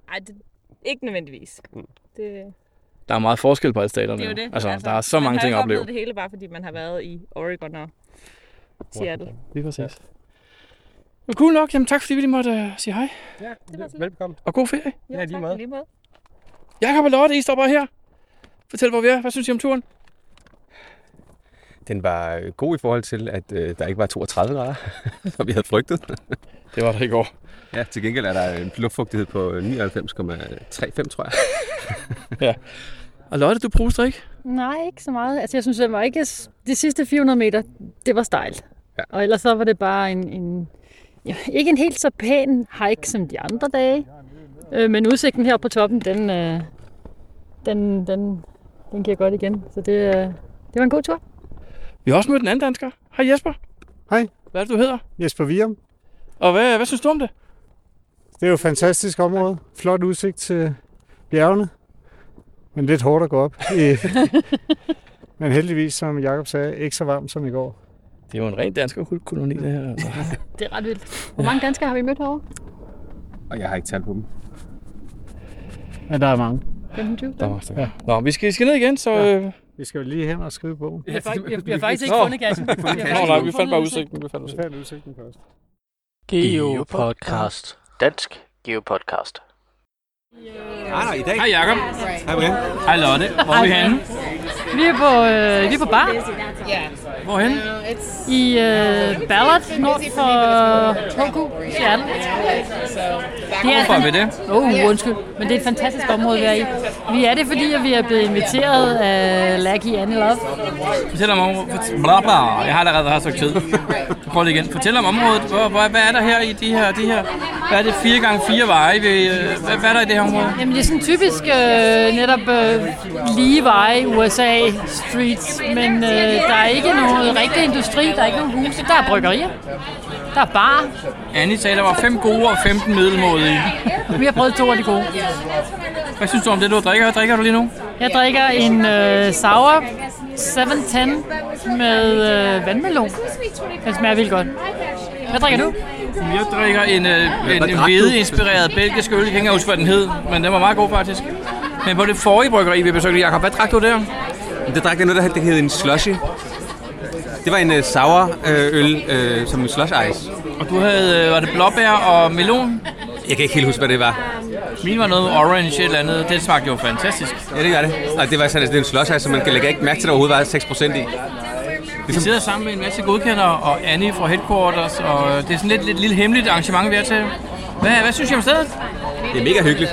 [SPEAKER 8] Ej, det, ikke nødvendigvis.
[SPEAKER 7] Mm.
[SPEAKER 8] Det,
[SPEAKER 2] Der er meget forskel på alle staterne.
[SPEAKER 8] Det er jo det.
[SPEAKER 2] Altså, der er så mange ting at
[SPEAKER 8] Man har jo
[SPEAKER 2] opleve.
[SPEAKER 8] ikke oplevet det hele, bare fordi man har været i Oregon og Seattle.
[SPEAKER 2] Lige præcis. Ja. Cool nok, jamen tak fordi vi lige måtte uh, sige hej.
[SPEAKER 7] ja,
[SPEAKER 8] Det var sådan.
[SPEAKER 7] velbekomme.
[SPEAKER 2] Og god ferie.
[SPEAKER 7] Ja, lige meget.
[SPEAKER 8] Lige måde.
[SPEAKER 2] Jakob og Lotte, I står bare her. Fortæl, hvor vi er. Hvad synes I om turen?
[SPEAKER 6] Den var øh, god i forhold til, at øh, der ikke var 32 grader, som vi havde frygtet.
[SPEAKER 2] Det var der i går.
[SPEAKER 6] Ja, til gengæld er der en luftfugtighed på øh, 99,35, tror jeg.
[SPEAKER 2] Og Lotte, du pruster ikke?
[SPEAKER 5] Nej, ikke så meget. Altså, jeg synes, det var ikke... De sidste 400 meter, det var stejlt.
[SPEAKER 6] Ja.
[SPEAKER 5] Og ellers så var det bare en, en ja, ikke en helt så pæn hike som de andre dage. Øh, men udsigten heroppe på toppen, den, øh, den, den, den giver godt igen. Så det, øh, det var en god tur.
[SPEAKER 2] Vi har også mødt en anden dansker. Hej Jesper.
[SPEAKER 9] Hej.
[SPEAKER 2] Hvad er det, du hedder?
[SPEAKER 9] Jesper Virum.
[SPEAKER 2] Og hvad, hvad synes du om det?
[SPEAKER 9] Det er jo et fantastisk område. Flot udsigt til bjergene. Men lidt hårdt at gå op. Øh, Men heldigvis, som Jakob sagde, ikke så varmt som i går.
[SPEAKER 2] Det er jo en ren dansk koloni, det her. Altså.
[SPEAKER 5] Det er ret vildt. Hvor mange danskere har vi mødt herovre?
[SPEAKER 6] Og jeg har ikke talt på dem.
[SPEAKER 9] Men der er mange.
[SPEAKER 5] 25?
[SPEAKER 2] Der var ja. Nå, vi skal, vi skal ned igen, så... Ja. Øh,
[SPEAKER 9] Vi skal jo lige hen og skrive bogen.
[SPEAKER 5] Vi har, fak- vi har, vi har faktisk ikke
[SPEAKER 2] Nå.
[SPEAKER 5] fundet kassen.
[SPEAKER 2] nå, nej, vi fandt bare udsigten. Vi fandt
[SPEAKER 9] Vi
[SPEAKER 2] udsigten.
[SPEAKER 9] fandt udsigten først.
[SPEAKER 4] Geo Podcast. Dansk Geo Podcast.
[SPEAKER 6] Ah, Nej, nej, i dag.
[SPEAKER 2] Hej Jakob.
[SPEAKER 6] Hej, Brian.
[SPEAKER 2] Hej Lotte. Hvor er vi henne?
[SPEAKER 5] Altså, Vi er på, øh, vi er på bar
[SPEAKER 2] Hvorhen?
[SPEAKER 5] i øh, Ballard, nord for Hoku, Seattle. Det er,
[SPEAKER 2] Hvorfor er vi det?
[SPEAKER 5] Åh, oh, undskyld, men det er et fantastisk område at være i. Vi er det, fordi at vi er blevet inviteret af Lucky Annie Love.
[SPEAKER 2] Fortæl om området. Fort- Bla, bla. Jeg har allerede haft stykke tid. Prøv lige igen. Fortæl om området. Hvor, hvor, hvad er der her i de her... De her hvad er det? 4x4 veje? Vi, øh, hvad, hvad er der i det her område?
[SPEAKER 5] Jamen det er sådan typisk øh, netop øh, lige veje USA streets, men øh, der er ikke noget rigtig industri, der er ikke nogen huse, der er bryggerier, der er bar.
[SPEAKER 2] Annie sagde, der var 5 gode og 15 middelmådige.
[SPEAKER 5] Vi har prøvet to af de gode.
[SPEAKER 2] Hvad synes du om det, du drikker? Hvad drikker du lige nu?
[SPEAKER 5] Jeg drikker en øh, sour 710 med øh, vandmelon. Den smager vildt godt. Hvad drikker du?
[SPEAKER 2] Jeg drikker en, øh, en,
[SPEAKER 6] hvad
[SPEAKER 2] en
[SPEAKER 6] drak du?
[SPEAKER 2] hvede-inspireret belgisk øl. Jeg kan ikke engang huske, hvad den hed, men den var meget god faktisk. Men på det forrige bryggeri, vi besøgte, Jacob, hvad drak du der?
[SPEAKER 6] Det drak jeg noget, der hed- det hed en slushy. Det var en uh, sour øh, øl, øh, som en slush ice.
[SPEAKER 2] Og du havde, øh, var det blåbær og melon?
[SPEAKER 6] Jeg kan ikke helt huske, hvad det var.
[SPEAKER 2] Min var noget orange et eller andet. Det smagte jo fantastisk.
[SPEAKER 6] Ja, det var det. Og det var sådan, altså, det er en slush ice, som man kan lægge ikke mærke til, at der overhovedet var 6% i.
[SPEAKER 2] Vi sidder sammen med en masse godkendere og Annie fra Headquarters, og øh, det er sådan lidt, lidt lille hemmeligt arrangement, vi er til. Hvad, hvad synes I om stedet?
[SPEAKER 6] Det er mega hyggeligt.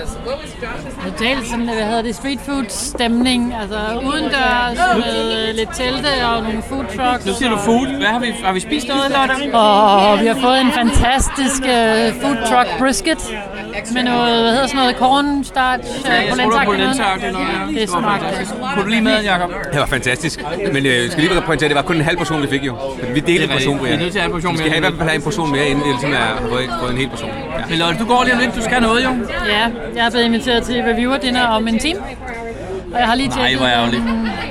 [SPEAKER 5] Totalt sådan, hvad hedder det, street food stemning. Altså udendørs med øh, lidt telte og nogle food trucks.
[SPEAKER 2] Nu siger du food. Hvad har vi, har vi spist noget, Lotte?
[SPEAKER 5] Og vi har fået en fantastisk uh, food truck brisket med noget, hvad hedder sådan noget, cornstarch,
[SPEAKER 2] Ja, jeg
[SPEAKER 5] uh,
[SPEAKER 2] tror, det var polenta-agtigt noget, ja.
[SPEAKER 5] Det
[SPEAKER 2] Det var
[SPEAKER 5] smagte.
[SPEAKER 2] fantastisk. Kunne du lige med, Jacob?
[SPEAKER 6] Det var fantastisk. Men øh, jeg skal lige pointere, at det var kun en halv portion, vi fik jo. Fordi vi
[SPEAKER 2] Det er
[SPEAKER 6] delte en portion,
[SPEAKER 2] rigtigt. Vi
[SPEAKER 6] Brian.
[SPEAKER 2] er nødt til at have en portion
[SPEAKER 6] Vi skal
[SPEAKER 2] mere.
[SPEAKER 6] have, i hvert fald have en portion mere, inden vi ligesom er, har fået, fået en hel portion. Ja.
[SPEAKER 2] Men Lotte, du går lige om lidt. Du skal noget, jo.
[SPEAKER 5] Ja, jeg er blevet inviteret til reviewer dinner om en time. Og jeg har lige
[SPEAKER 2] Nej,
[SPEAKER 5] tjekket.
[SPEAKER 2] hvor ærgerligt.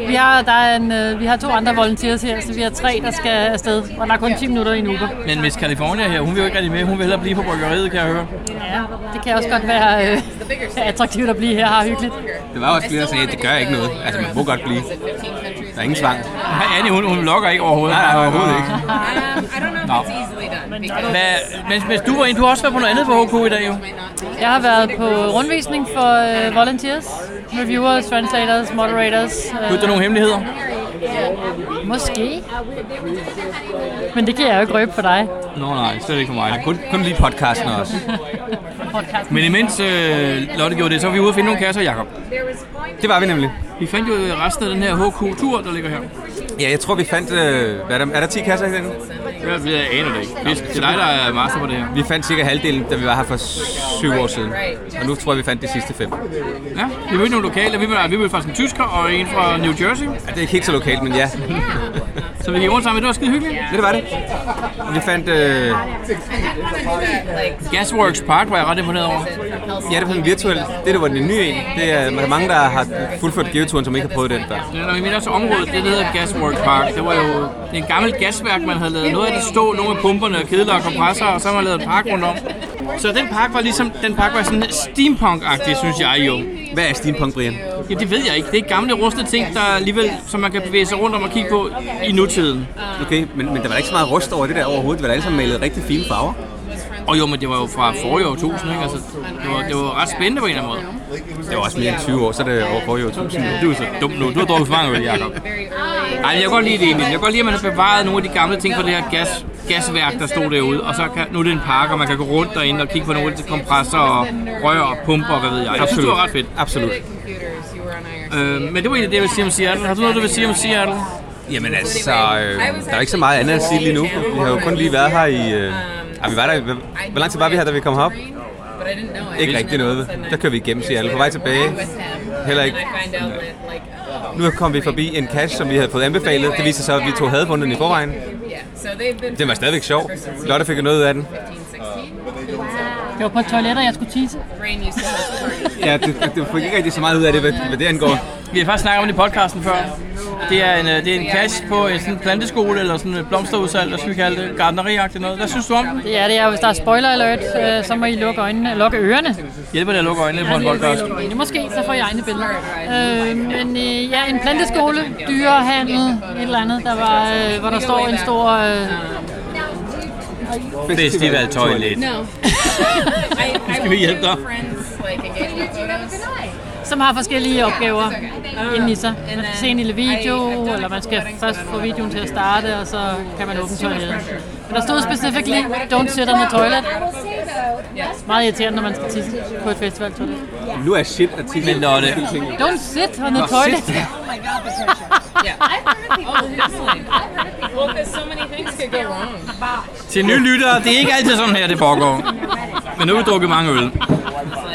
[SPEAKER 5] øh, Vi har, der er en, øh, vi har to andre volunteers her, så vi har tre, der skal afsted. Og der er kun 10 minutter i en Uber.
[SPEAKER 2] Men Miss California her, hun vil jo ikke rigtig med. Hun vil hellere blive på bryggeriet, kan jeg høre.
[SPEAKER 5] Ja, det kan også godt være øh, attraktivt at blive her og have hyggeligt.
[SPEAKER 6] Det var også flere, der sagde, at det gør ikke noget. Altså, man må godt blive. Der er ingen tvang.
[SPEAKER 2] Nej, Annie, hun, hun lokker ikke overhovedet.
[SPEAKER 6] Nej, nej, overhovedet ikke.
[SPEAKER 8] Um,
[SPEAKER 2] Nå. Hvad, mens, mens du var inde, du har også været på noget andet på HK i dag, jo.
[SPEAKER 5] Jeg har været på rundvisning for øh, volunteers, reviewers, translators, moderators. Øh,
[SPEAKER 2] Kunne du nogle hemmeligheder?
[SPEAKER 5] Måske. Men det kan jeg jo ikke røbe for dig.
[SPEAKER 2] Nå, nej, slet ikke for mig.
[SPEAKER 6] Kun, kun lige podcasten også.
[SPEAKER 5] Podcasten.
[SPEAKER 2] Men imens øh, Lotte gjorde det, så var vi ude og finde nogle kasser, Jacob.
[SPEAKER 6] Det var vi nemlig.
[SPEAKER 2] Vi fandt jo resten af den her HK-tur, der ligger her.
[SPEAKER 6] Ja, jeg tror, vi fandt... Øh, hvad er, der, er der 10 kasser i den?
[SPEAKER 2] Jeg, jeg aner det ikke. Det er- Det er dig, der er master på det her.
[SPEAKER 6] Vi fandt cirka halvdelen, da vi var her for syv år siden. Og nu tror jeg, vi fandt de sidste fem. Ja,
[SPEAKER 2] Ja, vi mødte nogle lokale. Vi mødte, vi mødte faktisk en tysker og en fra New Jersey.
[SPEAKER 6] det er ikke helt så lokalt, men ja.
[SPEAKER 2] Så vi gik rundt sammen. Det var skide hyggeligt.
[SPEAKER 6] Det, det var det. Vi fandt... Øh,
[SPEAKER 2] Gasworks Park var jeg ret imponeret over.
[SPEAKER 6] ja, det var sådan virtuel. Det, der var den nye en. Det er der er mange, der har fuldført geoturen, som ikke har prøvet den før.
[SPEAKER 2] Det er nok i mit også område, det der hedder Gasworks Park. Det var jo det er en gammel gasværk, man havde lavet noget af det stå, nogle af pumperne og kedler og kompressorer, og så har man lavet en park rundt om. Så den park var ligesom, den park var sådan steampunk-agtig, synes jeg jo.
[SPEAKER 6] Hvad er steampunk, Brian?
[SPEAKER 2] Ja, det ved jeg ikke. Det er gamle rustne ting, der alligevel, som man kan bevæge sig rundt om og kigge på i nutiden.
[SPEAKER 6] Okay, men, men der var da ikke så meget rust over det der overhovedet. Det var da alle sammen malet rigtig fine farver.
[SPEAKER 2] Og jo, men det var jo fra forrige årtusind, ikke? Altså, det var, det var ret spændende på en eller anden måde.
[SPEAKER 6] Det var også mere end 20 år, så er det over forrige årtusind.
[SPEAKER 2] Du er så dum nu. Du har drukket for mange øl, Jacob. Ej,
[SPEAKER 8] Ah,
[SPEAKER 2] men jeg kan godt lide det, Emil. Jeg kan godt lide, at man har bevaret nogle af de gamle ting fra det her gas, gasværk, der stod derude. Og så kan, nu er det en park, og man kan gå rundt derinde og kigge på nogle af de kompressorer og rør og pumper og hvad ved jeg. Jeg synes, det var ret fedt.
[SPEAKER 6] Absolut.
[SPEAKER 2] Øh, men det var egentlig det, jeg ville sige om Seattle. Har du noget, du vil sige om Seattle?
[SPEAKER 6] Jamen altså, øh, der er ikke så meget andet at sige lige nu. Vi har jo kun lige været her i... Øh, ja, vi var der, hvor, hvor lang tid var vi her, da vi kom herop? Ikke rigtig noget. Der kører vi igennem Seattle på vej tilbage. Heller ikke. Nu kom vi forbi en cash, som vi havde fået anbefalet. Det viser sig, at vi to havde fundet den i forvejen. Den var stadigvæk sjov. Lotte fik jo noget ud af den.
[SPEAKER 5] Det var på et toilet, og jeg skulle tisse.
[SPEAKER 6] Ja, det, det fik ikke rigtig så meget ud af det, hvad, hvad det angår.
[SPEAKER 2] Vi har faktisk snakket om det i podcasten før. Det er en, øh, det er en cash på en sådan planteskole, eller sådan et blomsterudsalg, der skal vi kalde det, gardneriagtigt noget. Hvad synes du om den?
[SPEAKER 5] Det er det, og hvis der er spoiler alert, øh, så må I lukke øjnene, lukke ørerne.
[SPEAKER 2] Hjælper det at lukke øjnene på en podcast?
[SPEAKER 5] Det måske, så får jeg egne billeder. Øh, men øh, ja, en planteskole, dyrehandel, et eller andet, der var, øh, hvor der står en stor... Øh,
[SPEAKER 2] Festival Toilet. Skal vi hjælpe dig?
[SPEAKER 5] som har forskellige opgaver inde i sig. Man skal se en lille video, eller man skal først få videoen til at starte, og så kan man åbne toilettet. Men der stod specifically, don't sit on the toilet. Meget irriterende, når man skal tisse på et festivaltoilet.
[SPEAKER 6] Nu er shit at tisse.
[SPEAKER 2] Men Lotte,
[SPEAKER 5] Don't sit on the toilet.
[SPEAKER 2] til nye lyttere, det er ikke altid sådan her, det foregår. Men nu har vi drukket mange øl.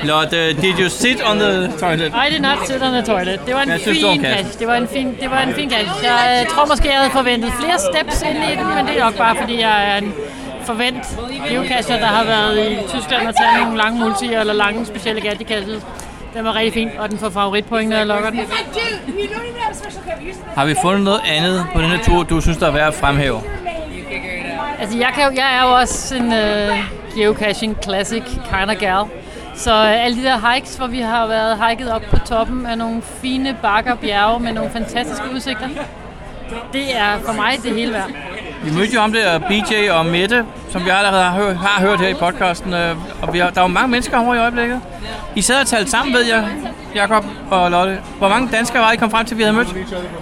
[SPEAKER 2] Lotte, did you sit on the toilet?
[SPEAKER 5] I did not sit on the toilet. Det var en
[SPEAKER 2] Hvad synes du om
[SPEAKER 5] fin
[SPEAKER 2] kassen?
[SPEAKER 5] catch. Det var en fin, det var en fin catch. Jeg øh, tror måske, jeg havde forventet flere steps ind i den, men det er nok bare, fordi jeg er en forvent geocacher, der har været i Tyskland og taget nogle lange multier eller lange specielle gattikasser. Den var rigtig fin, og den får favoritpoint, når jeg lokker den.
[SPEAKER 2] Har vi fundet noget andet på denne tur, du synes, der er værd at fremhæve?
[SPEAKER 5] Altså, jeg, kan, jo- jeg er jo også en øh, geocaching classic kind of gal. Så øh, alle de der hikes, hvor vi har været hiket op på toppen af nogle fine bakker og bjerge med nogle fantastiske udsigter, det er for mig det hele værd.
[SPEAKER 2] Vi mødte jo om det, og BJ og Mette, som vi allerede har, hørt, har hørt her i podcasten. øh, Og vi har, der er jo mange mennesker over i øjeblikket. I sad og talte sammen, ved jeg, Jakob og Lotte. Hvor mange danskere var det, I kom frem til, vi havde mødt?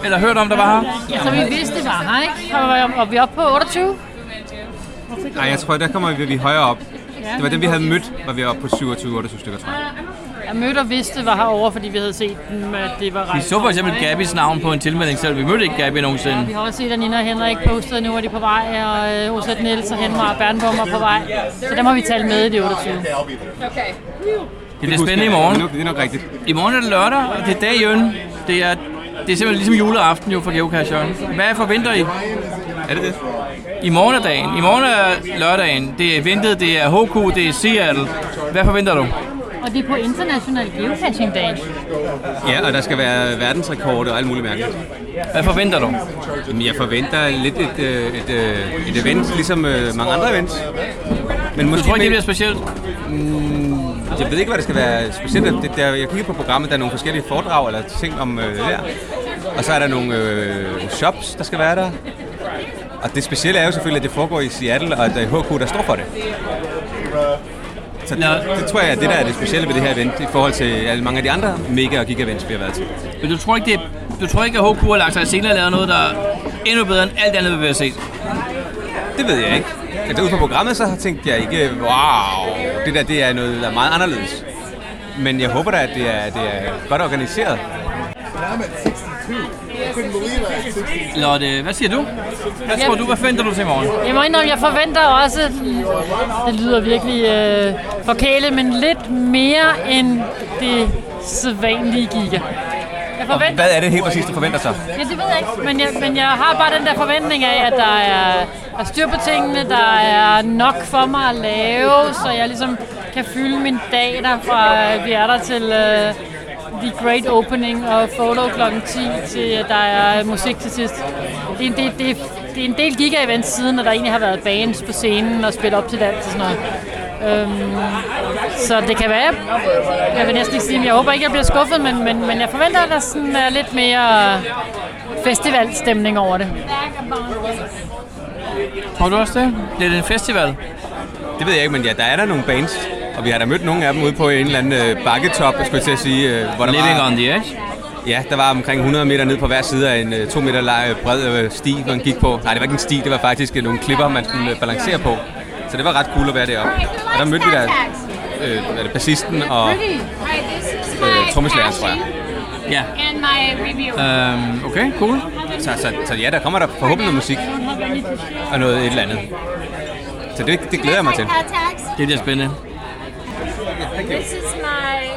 [SPEAKER 2] Eller hørt om, der var her?
[SPEAKER 5] Ja, så vi vidste, det var her, ikke? Og var- Og vi er oppe på 28.
[SPEAKER 6] Nej, jeg tror, der kommer vi, vi højere op.
[SPEAKER 5] Ja.
[SPEAKER 6] Det var dem, vi havde mødt, var vi oppe på 27-28 stykker, tror jeg.
[SPEAKER 5] Jeg mødte og vidste var herovre, fordi vi havde set dem, at det var
[SPEAKER 10] Vi
[SPEAKER 5] rejst.
[SPEAKER 10] så for eksempel Gabis navn på en tilmelding selv. Vi mødte ikke Gabi nogensinde.
[SPEAKER 5] Ja, vi har også set, at Nina og Henrik postede, nu er de på vej, og øh, OZ Niels og Henmar og Bernbom er på vej. Så der må vi tale med i det 28.
[SPEAKER 11] Okay.
[SPEAKER 10] Det bliver spændende i morgen.
[SPEAKER 3] Det er nok rigtigt.
[SPEAKER 10] I morgen er det lørdag, og det er dag i øen. Det er, det er simpelthen ligesom juleaften jo for Geocache Jørgen. Hvad forventer I?
[SPEAKER 3] Er det det?
[SPEAKER 10] I morgen er dagen. I morgen er lørdagen. Det er ventet, det er HQ, det er Seattle. Hvad forventer du?
[SPEAKER 5] Og det er på International Geocaching Dag.
[SPEAKER 6] Ja, og der skal være verdensrekord og alt muligt mærkeligt.
[SPEAKER 10] Hvad forventer du?
[SPEAKER 6] Jamen, jeg forventer lidt et, øh, et, øh, et event, ligesom øh, mange andre events. Men måske
[SPEAKER 10] tror ikke, det bliver
[SPEAKER 6] med-
[SPEAKER 10] specielt?
[SPEAKER 6] Mm, jeg ved ikke, hvad det skal være specielt. Det, der, jeg kigger på programmet, der er nogle forskellige foredrag eller ting om øh, der. Og så er der nogle øh, shops, der skal være der. Og det specielle er jo selvfølgelig, at det foregår i Seattle, og at der er HK, der står for det. Så det, det tror jeg, at det der er det specielle ved det her event, i forhold til alle mange af de andre mega- og giga-events, vi har været til.
[SPEAKER 10] Men du tror ikke, det er, du tror ikke at HQ har lagt sig i selen og lavet noget, der er endnu bedre end alt andet, vi vil have set?
[SPEAKER 6] Det ved jeg ikke. Altså ud fra programmet, så tænkte jeg ikke, wow, det der det er noget, der er meget anderledes. Men jeg håber da, at det er, det er godt organiseret.
[SPEAKER 11] I'm at 62. I couldn't believe I had 62.
[SPEAKER 10] Lotte, hvad siger du? Hvad tror du, hvad forventer du til i morgen?
[SPEAKER 5] Jeg må indrømme, jeg forventer også, det lyder virkelig øh, forkælet, men lidt mere end det sædvanlige giga. Jeg
[SPEAKER 6] Og
[SPEAKER 5] forventer,
[SPEAKER 6] hvad er det helt præcis, du forventer så?
[SPEAKER 5] Ja, det ved jeg ikke, men jeg, men jeg har bare den der forventning af, at der er, er styr på tingene, der er nok for mig at lave, så jeg ligesom kan fylde min dag der fra øh, vi er der til øh, The Great Opening og Follow kl. 10 til at der er musik til sidst. Det er, en- det, det, det er en del giga-events siden, og der egentlig har været bands på scenen og spillet op til dans og sådan noget. Øhm, så det kan være, jeg vil næsten ikke sige, men jeg håber ikke, jeg bliver skuffet, men, men, men jeg forventer, at der sådan er lidt mere festivalstemning over det.
[SPEAKER 10] Tror du også det? Det er en festival.
[SPEAKER 6] Det ved jeg ikke, men ja, der er der nogle bands. Og vi har da mødt nogle af dem ude på en eller anden øh, bakketop, skulle jeg til at sige. Øh, hvor der
[SPEAKER 10] Living
[SPEAKER 6] var,
[SPEAKER 10] on the edge?
[SPEAKER 6] Ja, der var omkring 100 meter ned på hver side af en øh, 2 meter lang, øh, bred øh, sti, man gik på. Nej, det var ikke en sti, det var faktisk øh, nogle klipper, man skulle øh, balancere på. Så det var ret cool at være deroppe. Og der mødte vi da øh, hvad er det, bassisten og
[SPEAKER 11] Rudy, right, this is
[SPEAKER 6] øh, trommeslageren, tror jeg.
[SPEAKER 10] Ja.
[SPEAKER 11] and my review.
[SPEAKER 10] Øhm, okay, cool.
[SPEAKER 6] Så, så, så ja, der kommer der forhåbentlig noget musik og noget et eller andet. Så det, det glæder jeg mig til.
[SPEAKER 10] Det bliver spændende.
[SPEAKER 11] This is my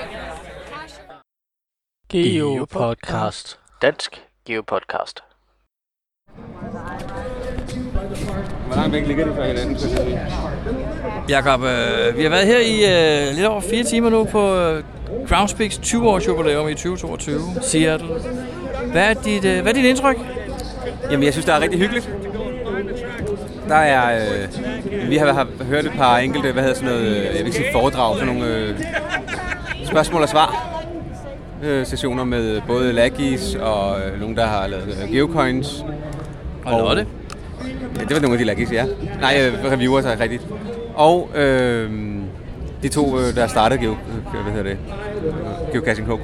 [SPEAKER 4] Geo Podcast. Dansk Geo Podcast.
[SPEAKER 6] Hvor langt væk ligger det fra hinanden?
[SPEAKER 10] Jakob, øh, vi har været her i øh, lidt over fire timer nu på øh, Groundspeaks 20-års jubilæum i 2022, Seattle. Hvad er dit, øh, hvad er dit indtryk?
[SPEAKER 6] Jamen, jeg synes, det er rigtig hyggeligt. Der er, øh, vi har, har hørt et par enkelte, hvad hedder sådan noget, øh, jeg vil ikke sige foredrag, for nogle øh, spørgsmål og svar øh, sessioner med både Lagis og øh, nogen, der har lavet øh, Geocoins.
[SPEAKER 10] Og Lotte.
[SPEAKER 6] Ja, det var nogle af de Lagis, ja. Nej, øh, reviewers er rigtigt. Og øh, de to, øh, der startede Geo, øh, hvad hedder det, Øh, Geocaching HQ.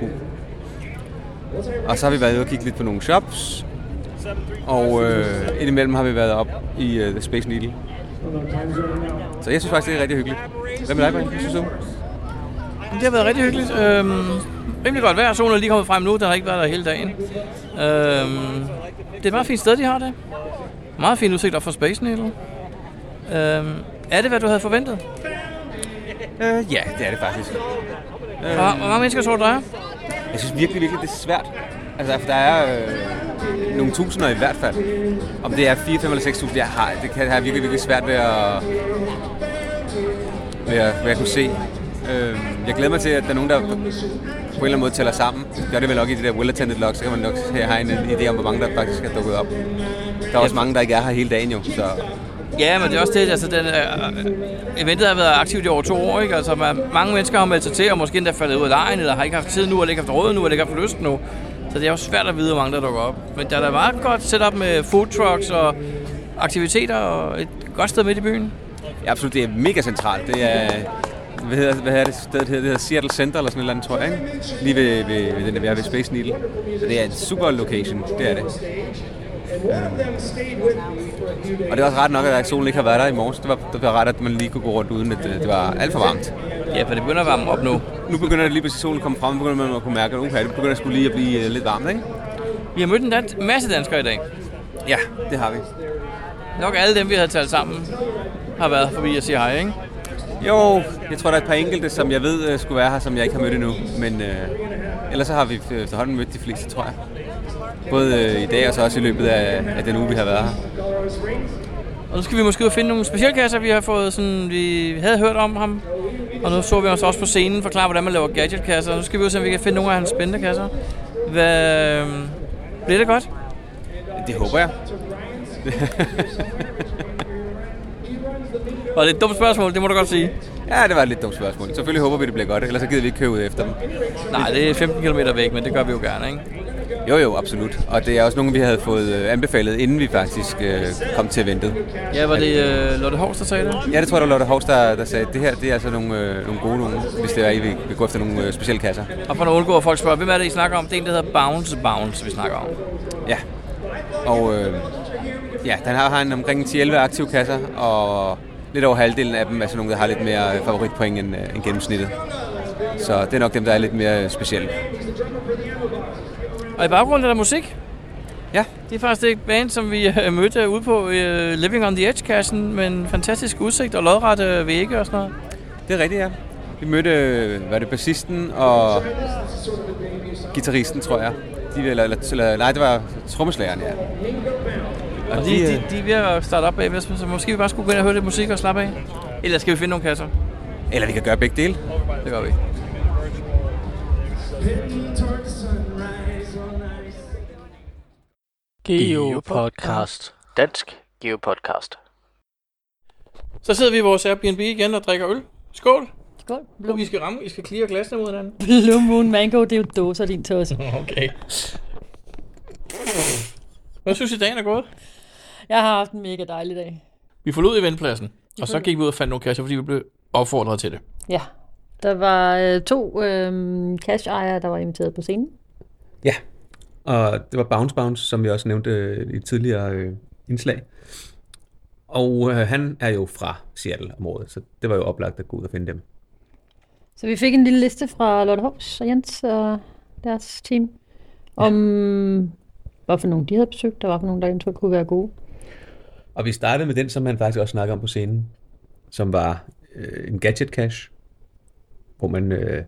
[SPEAKER 6] Og så har vi været ude og kigge lidt på nogle shops, og øh, indimellem har vi været op i øh, The Space Needle. Så jeg synes faktisk, det er rigtig hyggeligt. Hvad med dig, Brian? Hvad synes du?
[SPEAKER 10] Det har været rigtig hyggeligt. Øhm, rimelig godt vejr. Solen er lige kommet frem nu. Der har ikke været der hele dagen. Øhm, det er et meget fint sted, de har det. Meget fin udsigt op for Space Needle. Øhm, er det, hvad du havde forventet?
[SPEAKER 6] Øh, ja, det er det faktisk.
[SPEAKER 10] Hvor, hvor mange mennesker tror du, der er?
[SPEAKER 6] Jeg synes virkelig, virkelig, det er svært. Altså, for der er øh, nogle tusinder i hvert fald. Om det er 4, 5 eller 6 tusind, jeg har, det kan jeg have virkelig, virkelig svært ved at, ved at, ved at kunne se. Øh, jeg glæder mig til, at der er nogen, der på en eller anden måde tæller sammen. Gør det vel nok i det der well attended log, så kan man nok have en idé om, hvor mange der faktisk er dukket op. Der er også mange, der ikke er her hele dagen jo, så...
[SPEAKER 10] Ja, men det er også det, altså den, øh, eventet har været aktivt i over to år, ikke? Altså man, mange mennesker har meldt sig til, og måske endda faldet ud af lejen, eller har ikke haft tid nu, eller ikke haft råd nu, eller ikke haft lyst nu. Så det er jo svært at vide, hvor mange der dukker op. Men der er da meget godt setup med food trucks og aktiviteter, og et godt sted midt i byen.
[SPEAKER 6] Ja, absolut, det er mega centralt. Det er, hvad hedder, hvad hedder det stedet hedder? Det hedder Seattle Center eller sådan et eller andet, tror jeg, ikke? Lige ved, ved, ved den der, vi er ved Space Needle. Så det er en super location, det er det. Øhm. Og det er også ret nok, at solen ikke har været der i morges. Det var, det var ret, at man lige kunne gå rundt uden, at øh, det, det var alt for varmt.
[SPEAKER 2] Ja, for det begynder at varme op nu.
[SPEAKER 6] Nu begynder det lige præcis solen at komme frem, og begynder man at kunne mærke, at okay, det begynder sgu lige at blive øh, lidt varmt, ikke?
[SPEAKER 2] Vi har mødt en dans- masse danskere i dag.
[SPEAKER 6] Ja, det har vi.
[SPEAKER 2] Nok alle dem, vi havde talt sammen, har været forbi og siger hej, ikke?
[SPEAKER 6] Jo, jeg tror, der er et par enkelte, som jeg ved øh, skulle være her, som jeg ikke har mødt endnu. Men øh, ellers så har vi efterhånden mødt de fleste, tror jeg. Både øh, i dag og så også i løbet af, af den uge, vi har været her.
[SPEAKER 2] Og nu skal vi måske ud og finde nogle specialkasser, vi har fået, sådan, vi havde hørt om ham. Og nu så vi os også på scenen forklare, hvordan man laver gadgetkasser. Og nu skal vi ud og se, om vi kan finde nogle af hans spændende kasser. Hvad... øhm, Bliver det godt?
[SPEAKER 6] Det håber jeg.
[SPEAKER 2] Og det er et dumt spørgsmål, det må du godt sige.
[SPEAKER 6] Ja, det var et lidt dumt spørgsmål. Selvfølgelig håber vi, det bliver godt, ellers så gider vi ikke køre ud efter dem.
[SPEAKER 2] Nej, det er 15 km væk, men det gør vi jo gerne, ikke?
[SPEAKER 6] Jo, jo, absolut. Og det er også nogle, vi havde fået øh, anbefalet, inden vi faktisk øh, kom til eventet.
[SPEAKER 2] Ja, var det øh, Lotte Hovs, der sagde det?
[SPEAKER 6] Ja, det tror jeg, det var Lotte Hovs, der, der sagde, at det her det er altså nogle, øh, nogle gode nogle, hvis det er, I vil, vil gå efter nogle øh, specielle kasser.
[SPEAKER 2] Og for at undgå, at folk spørger, hvem er det, I snakker om? Det er en, der hedder Bounce Bounce, vi snakker om.
[SPEAKER 6] Ja. Og øh, ja, den har, har en omkring 10-11 aktive kasser, og lidt over halvdelen af dem er sådan nogle, der har lidt mere øh, favoritpoint end, øh, end gennemsnittet. Så det er nok dem, der er lidt mere øh, specielle.
[SPEAKER 2] Og i baggrunden er der musik.
[SPEAKER 6] Ja.
[SPEAKER 2] Det er faktisk det band, som vi øh, mødte ude på øh, Living on the Edge-kassen, med en fantastisk udsigt og lodrette vægge og sådan noget.
[SPEAKER 6] Det er rigtigt, ja. Vi mødte, øh, var det bassisten og gitarristen, tror jeg. De, eller, eller, eller, nej, det var trommeslageren, ja.
[SPEAKER 2] Og, de, de, de, er ved at starte op bagved, så måske vi bare skulle gå ind og høre lidt musik og slappe af. Eller skal vi finde nogle kasser?
[SPEAKER 6] Eller vi kan gøre begge dele.
[SPEAKER 2] Det gør vi.
[SPEAKER 4] Geopodcast. Dansk Geopodcast.
[SPEAKER 2] Så sidder vi i vores Airbnb igen og drikker øl. Skål!
[SPEAKER 5] Skål.
[SPEAKER 2] Blum. I skal ramme, I skal klire glasene mod hinanden.
[SPEAKER 5] Blue Moon Mango, det er jo dåser din tås.
[SPEAKER 2] Okay. Hvad synes I, dagen er gået?
[SPEAKER 5] Jeg har haft en mega dejlig dag.
[SPEAKER 2] Vi forlod eventpladsen, og så gik vi ud og fandt nogle kasser, fordi vi blev opfordret til det.
[SPEAKER 5] Ja. Der var øh, to øh, cash-ejere, der var inviteret på scenen.
[SPEAKER 3] Ja, og det var Bounce Bounce, som vi også nævnte øh, i et tidligere øh, indslag. Og øh, han er jo fra Seattle-området, så det var jo oplagt at gå ud og finde dem.
[SPEAKER 5] Så vi fik en lille liste fra Lotte Hovs og Jens og deres team, om hvad for nogen de havde besøgt, og hvad for nogen, der eventuelt kunne være gode.
[SPEAKER 3] Og vi startede med den, som han faktisk også snakkede om på scenen, som var øh, en gadget cache, hvor man... Øh,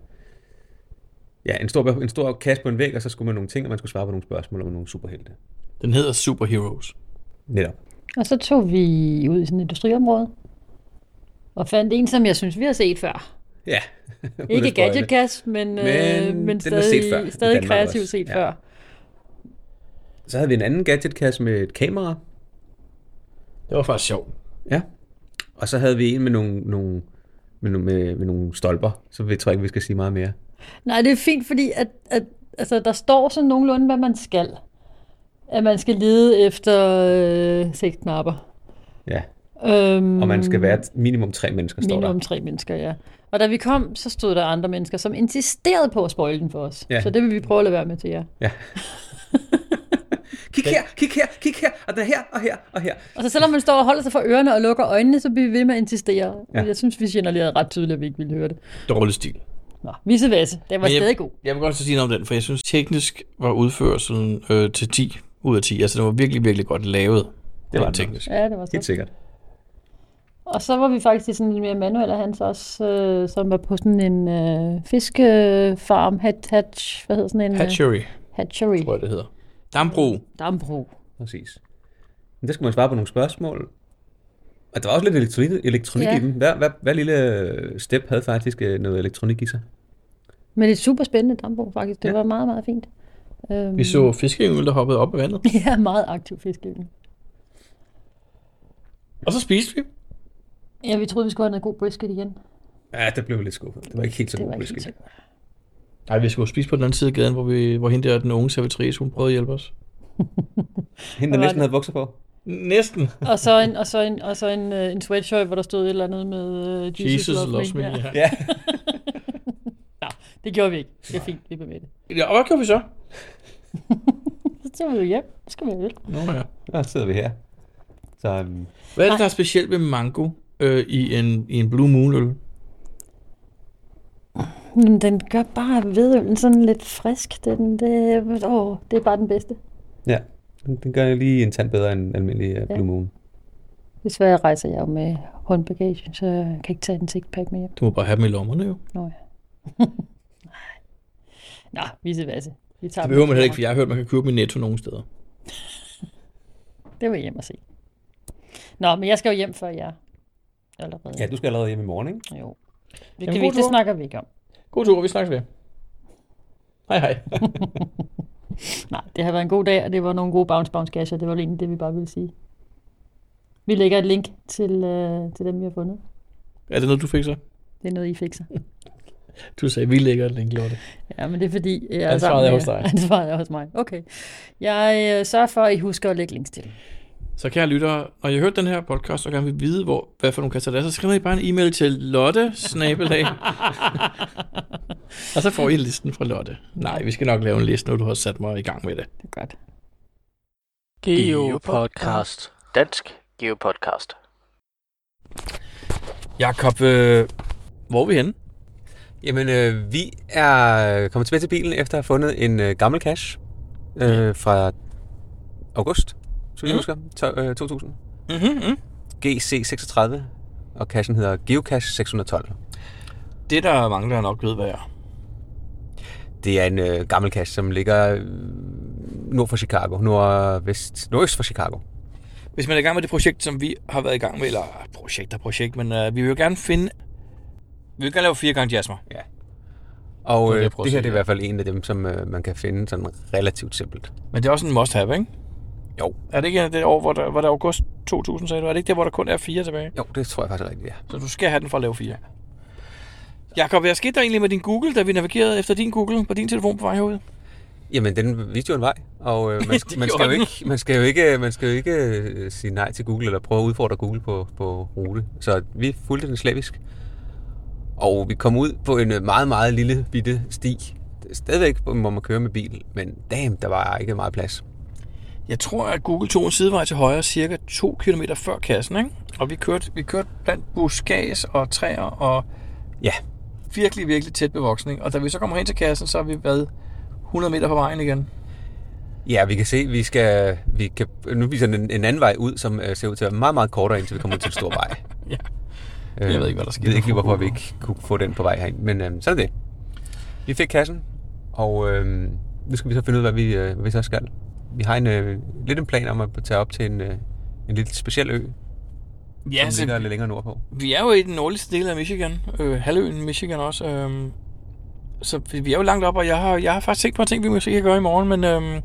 [SPEAKER 3] ja, en stor, en stor kasse på en væg, og så skulle man nogle ting, og man skulle svare på nogle spørgsmål om nogle superhelte.
[SPEAKER 2] Den hedder Superheroes.
[SPEAKER 3] Netop.
[SPEAKER 5] Og så tog vi ud i sådan et industriområde, og fandt en, som jeg synes, vi har set før.
[SPEAKER 3] Ja. Uden
[SPEAKER 5] Ikke
[SPEAKER 3] at spoile.
[SPEAKER 5] gadgetkass, men, men, øh,
[SPEAKER 3] Men
[SPEAKER 5] men
[SPEAKER 3] den er set
[SPEAKER 5] stadig,
[SPEAKER 3] før i
[SPEAKER 5] stadig
[SPEAKER 3] Danmark
[SPEAKER 5] kreativt
[SPEAKER 3] også.
[SPEAKER 5] set
[SPEAKER 3] Ja.
[SPEAKER 5] ja. før.
[SPEAKER 3] Så havde vi en anden gadgetkasse med et kamera.
[SPEAKER 2] Det var faktisk sjovt.
[SPEAKER 3] Ja. Og så havde vi en med nogle, nogle, med, nogle- med, med nogle stolper, så vi tror jeg ikke, vi skal sige meget mere.
[SPEAKER 5] Nej, det er fint, fordi at, at, altså, der står sådan nogenlunde, hvad man skal. At man skal lede efter øh, seks knapper.
[SPEAKER 3] Ja.
[SPEAKER 5] Øhm,
[SPEAKER 3] Og man skal være minimum tre mennesker, står
[SPEAKER 5] minimum
[SPEAKER 3] der.
[SPEAKER 5] tre mennesker, ja. Og da vi kom, så stod der andre mennesker, som insisterede på at spoil den for os.
[SPEAKER 3] Ja.
[SPEAKER 5] Så det vil vi prøve at lade være med til jer.
[SPEAKER 3] Ja. kig her, kig her, kig her, og der er her, og her, og her.
[SPEAKER 5] Og så selvom man står og holder sig for ørerne og lukker øjnene, så bliver vi ved med at insistere.
[SPEAKER 3] Ja.
[SPEAKER 5] Ja. Jeg synes, vi signalerede ret tydeligt, at vi ikke ville høre det.
[SPEAKER 2] Dårlig stil.
[SPEAKER 5] Nå, visse vasse. Den var
[SPEAKER 2] Men jeg,
[SPEAKER 5] stadig god.
[SPEAKER 2] Jeg vil godt så sige noget om den, for jeg synes teknisk var udførelsen øh, til 10 ud af 10. Altså den var virkelig, virkelig godt lavet.
[SPEAKER 3] Det var den
[SPEAKER 2] teknisk.
[SPEAKER 5] Ja, det var så.
[SPEAKER 3] Helt sikkert.
[SPEAKER 5] Og så var vi faktisk i sådan lidt mere manuel af hans også, øh, som var på sådan en øh, fiskefarm, hat, hatch, hvad hedder sådan en? øh,
[SPEAKER 2] Hatchery,
[SPEAKER 5] Hatchery.
[SPEAKER 2] tror jeg det hedder. Dambrug.
[SPEAKER 5] Dambrug.
[SPEAKER 3] Præcis. Men der skulle man svare på nogle spørgsmål. Og der var også lidt elektronik, elektronik ja.
[SPEAKER 5] Ja.
[SPEAKER 3] i den. Hver, hver, hver lille step havde faktisk øh, noget elektronik i sig.
[SPEAKER 5] Men det er et super spændende dambrug faktisk. Det ja. var meget, meget fint. Øhm,
[SPEAKER 2] Vi så fiskeyngel, der hoppede op i vandet.
[SPEAKER 5] Ja, meget aktiv fiskeyngel.
[SPEAKER 2] Og så spiste vi.
[SPEAKER 5] Ja, vi troede, vi skulle have noget god brisket igen.
[SPEAKER 3] Ja, der blev vi lidt skuffet. Det var ikke helt så
[SPEAKER 5] Det
[SPEAKER 3] god
[SPEAKER 5] var ikke
[SPEAKER 3] whisky.
[SPEAKER 5] helt så godt.
[SPEAKER 2] Nej, vi skulle spise på den anden side af gaden, hvor, vi, hvor hende der, den unge servitrice, hun prøvede at hjælpe os.
[SPEAKER 3] Hende, der
[SPEAKER 5] var
[SPEAKER 3] næsten
[SPEAKER 5] det?
[SPEAKER 3] havde bukser på.
[SPEAKER 2] Næsten.
[SPEAKER 5] Og så en, og så en, og så en, øh, en sweatshirt, hvor der stod et eller andet med øh, Jesus,
[SPEAKER 2] Jesus
[SPEAKER 5] loves,
[SPEAKER 2] loves me, ja.
[SPEAKER 3] Ja.
[SPEAKER 5] Nå, det gjorde vi ikke. Det er fint, vi blev med det.
[SPEAKER 2] Ja, og hvad gjorde vi så?
[SPEAKER 12] Så var vi hjem. Så skal vi have øl.
[SPEAKER 2] Nå ja.
[SPEAKER 6] Der sidder vi her.
[SPEAKER 3] øh,
[SPEAKER 6] Så, um,
[SPEAKER 2] Hvad er det, der er specielt ved mango øh, i, en, i en Blue Moon øl?
[SPEAKER 12] Jamen, den gør bare hvedøllen sådan lidt frisk. Den, det, åh, det er bare den bedste.
[SPEAKER 6] ja, den, den gør lige en tand bedre end
[SPEAKER 3] øh,
[SPEAKER 6] almindelig uh,
[SPEAKER 12] Ja.
[SPEAKER 6] Blue Moon.
[SPEAKER 12] Desværre rejser jeg jo med håndbagage, så jeg kan ikke tage en sixpack med hjem.
[SPEAKER 2] Du må bare have dem i lommerne jo.
[SPEAKER 12] Nå ja. Nå, vise vasse. Vi tager
[SPEAKER 2] Det
[SPEAKER 12] dem.
[SPEAKER 2] behøver man heller ikke, for jeg har hørt, at man kan købe dem i Netto nogle steder.
[SPEAKER 12] Det var hjem og se. Nå, men jeg skal jo hjem før jer. Allerede.
[SPEAKER 6] Ja, du skal allerede hjem i morgen, ikke?
[SPEAKER 12] Jo. Det, kan
[SPEAKER 2] Jamen, god
[SPEAKER 12] vi, ikke- det
[SPEAKER 2] tur.
[SPEAKER 12] snakker vi ikke om.
[SPEAKER 2] God tur, vi snakkes ved. Hej hej.
[SPEAKER 12] Nej, det har været en god dag, og det var nogle gode bounce bounce gasher. Det var vel egentlig det, vi bare ville sige. Vi lægger et link til, øh, til dem, vi har fundet.
[SPEAKER 2] Er det noget, du fik så?
[SPEAKER 12] Det er noget, I fikser.
[SPEAKER 2] Du sagde, vi lægger den, Lotte.
[SPEAKER 12] Ja, men det er fordi, jeg er
[SPEAKER 2] Ansvaret
[SPEAKER 12] sammen
[SPEAKER 2] er
[SPEAKER 12] med
[SPEAKER 2] hos
[SPEAKER 12] jer.
[SPEAKER 2] dig.
[SPEAKER 12] Ansvaret er hos mig. Okay. Jeg øh, sørger for, at I husker at lægge links til.
[SPEAKER 2] Så kære lyttere, når jeg hørt den her podcast, og gerne vil vide, hvor, hvad for nogle kasser der er, så skriver I bare en e-mail til lotte snabelag. og så får I listen fra Lotte. Nej, vi skal nok lave en liste, når du har sat mig i gang med det. Det
[SPEAKER 12] er godt.
[SPEAKER 4] Geopodcast. Dansk Geopodcast.
[SPEAKER 6] Jakob, øh,
[SPEAKER 2] hvor er vi henne?
[SPEAKER 6] Jamen, øh, vi er kommet tilbage til bilen efter at have fundet en øh, gammel cash øh, fra august, så
[SPEAKER 3] Mhm.
[SPEAKER 6] vi mm. husker, to, øh, 2000.
[SPEAKER 2] Mm-hmm.
[SPEAKER 6] GC36, og cashen hedder Geocache 612.
[SPEAKER 2] Det, der mangler nok ved, hvad er.
[SPEAKER 6] Det er en øh, gammel cache, som ligger øh, nord for Chicago, nordvest, nordøst for Chicago.
[SPEAKER 2] Hvis man er i gang med det projekt, som vi har været i gang med, eller projekt og projekt, men øh, vi vil jo gerne finde... Vi vil gerne lave fire gange jasmer.
[SPEAKER 6] Ja. Og
[SPEAKER 2] Det er det, jeg
[SPEAKER 6] øh, det,
[SPEAKER 2] prøver at
[SPEAKER 6] det her
[SPEAKER 2] sige,
[SPEAKER 6] det er i hvert fald en af dem, som øh, man kan finde sådan relativt simpelt.
[SPEAKER 2] Men det er også en must-have, ikke?
[SPEAKER 6] Jo.
[SPEAKER 2] Er det ikke det år, hvor der, var det august 2000, sagde du? Er det ikke der, hvor der kun er fire tilbage?
[SPEAKER 6] Jo, det tror jeg faktisk er rigtigt, ja.
[SPEAKER 2] Så du skal have den for at lave fire. Jakob, hvad skete der egentlig med din Google, da vi navigerede efter din Google på din telefon på vej herud?
[SPEAKER 6] Jamen, den viste jo en vej, og øh, man,
[SPEAKER 2] Det
[SPEAKER 6] man, skal
[SPEAKER 2] gjorde
[SPEAKER 6] jo
[SPEAKER 2] den.
[SPEAKER 6] ikke, man skal jo ikke, man skal jo ikke øh, sige nej til Google, eller prøve at udfordre Google på, på rute. Så vi fulgte den slavisk, og vi kom ud på en øh, meget, meget lille bitte sti. Stadigvæk må man køre med bil, men damn, der var ikke meget plads.
[SPEAKER 2] Jeg tror, at Google tog en sidevej til højre cirka 2 km før kassen, ikke? Og vi kørte, vi kørte blandt buskads og træer og
[SPEAKER 6] ja.
[SPEAKER 2] virkelig, virkelig tæt bevoksning. Og da vi så kommer hen til kassen, så har vi været 100 meter på vejen igen.
[SPEAKER 6] Ja, vi kan se, vi skal, vi kan, nu viser den en, en anden vej ud, som øh, ser ud til at være meget, meget kortere, indtil vi kommer ud til en stor vej.
[SPEAKER 2] Ja.
[SPEAKER 6] Øh,
[SPEAKER 2] Jeg ved ikke, hvad der sker.
[SPEAKER 6] Jeg ved ikke, lige, hvorfor vi ikke kunne få den på vej herind, men øh, sådan er det. Vi fik kassen, og øh, nu skal vi så finde ud af, hvad vi, øh, hvad vi så skal. Vi har en, øh, lidt en plan om at tage op til en, øh, en lidt speciel ø,
[SPEAKER 2] Ja,
[SPEAKER 6] som
[SPEAKER 2] så-
[SPEAKER 6] ligger lidt længere nordpå.
[SPEAKER 2] Vi er jo i den nordligste del af Michigan, øh, halvøen Michigan også. Øh, så vi- vi er jo langt op, og jeg har, jeg har faktisk tænkt på ting, vi måske kan gøre i morgen, men øh,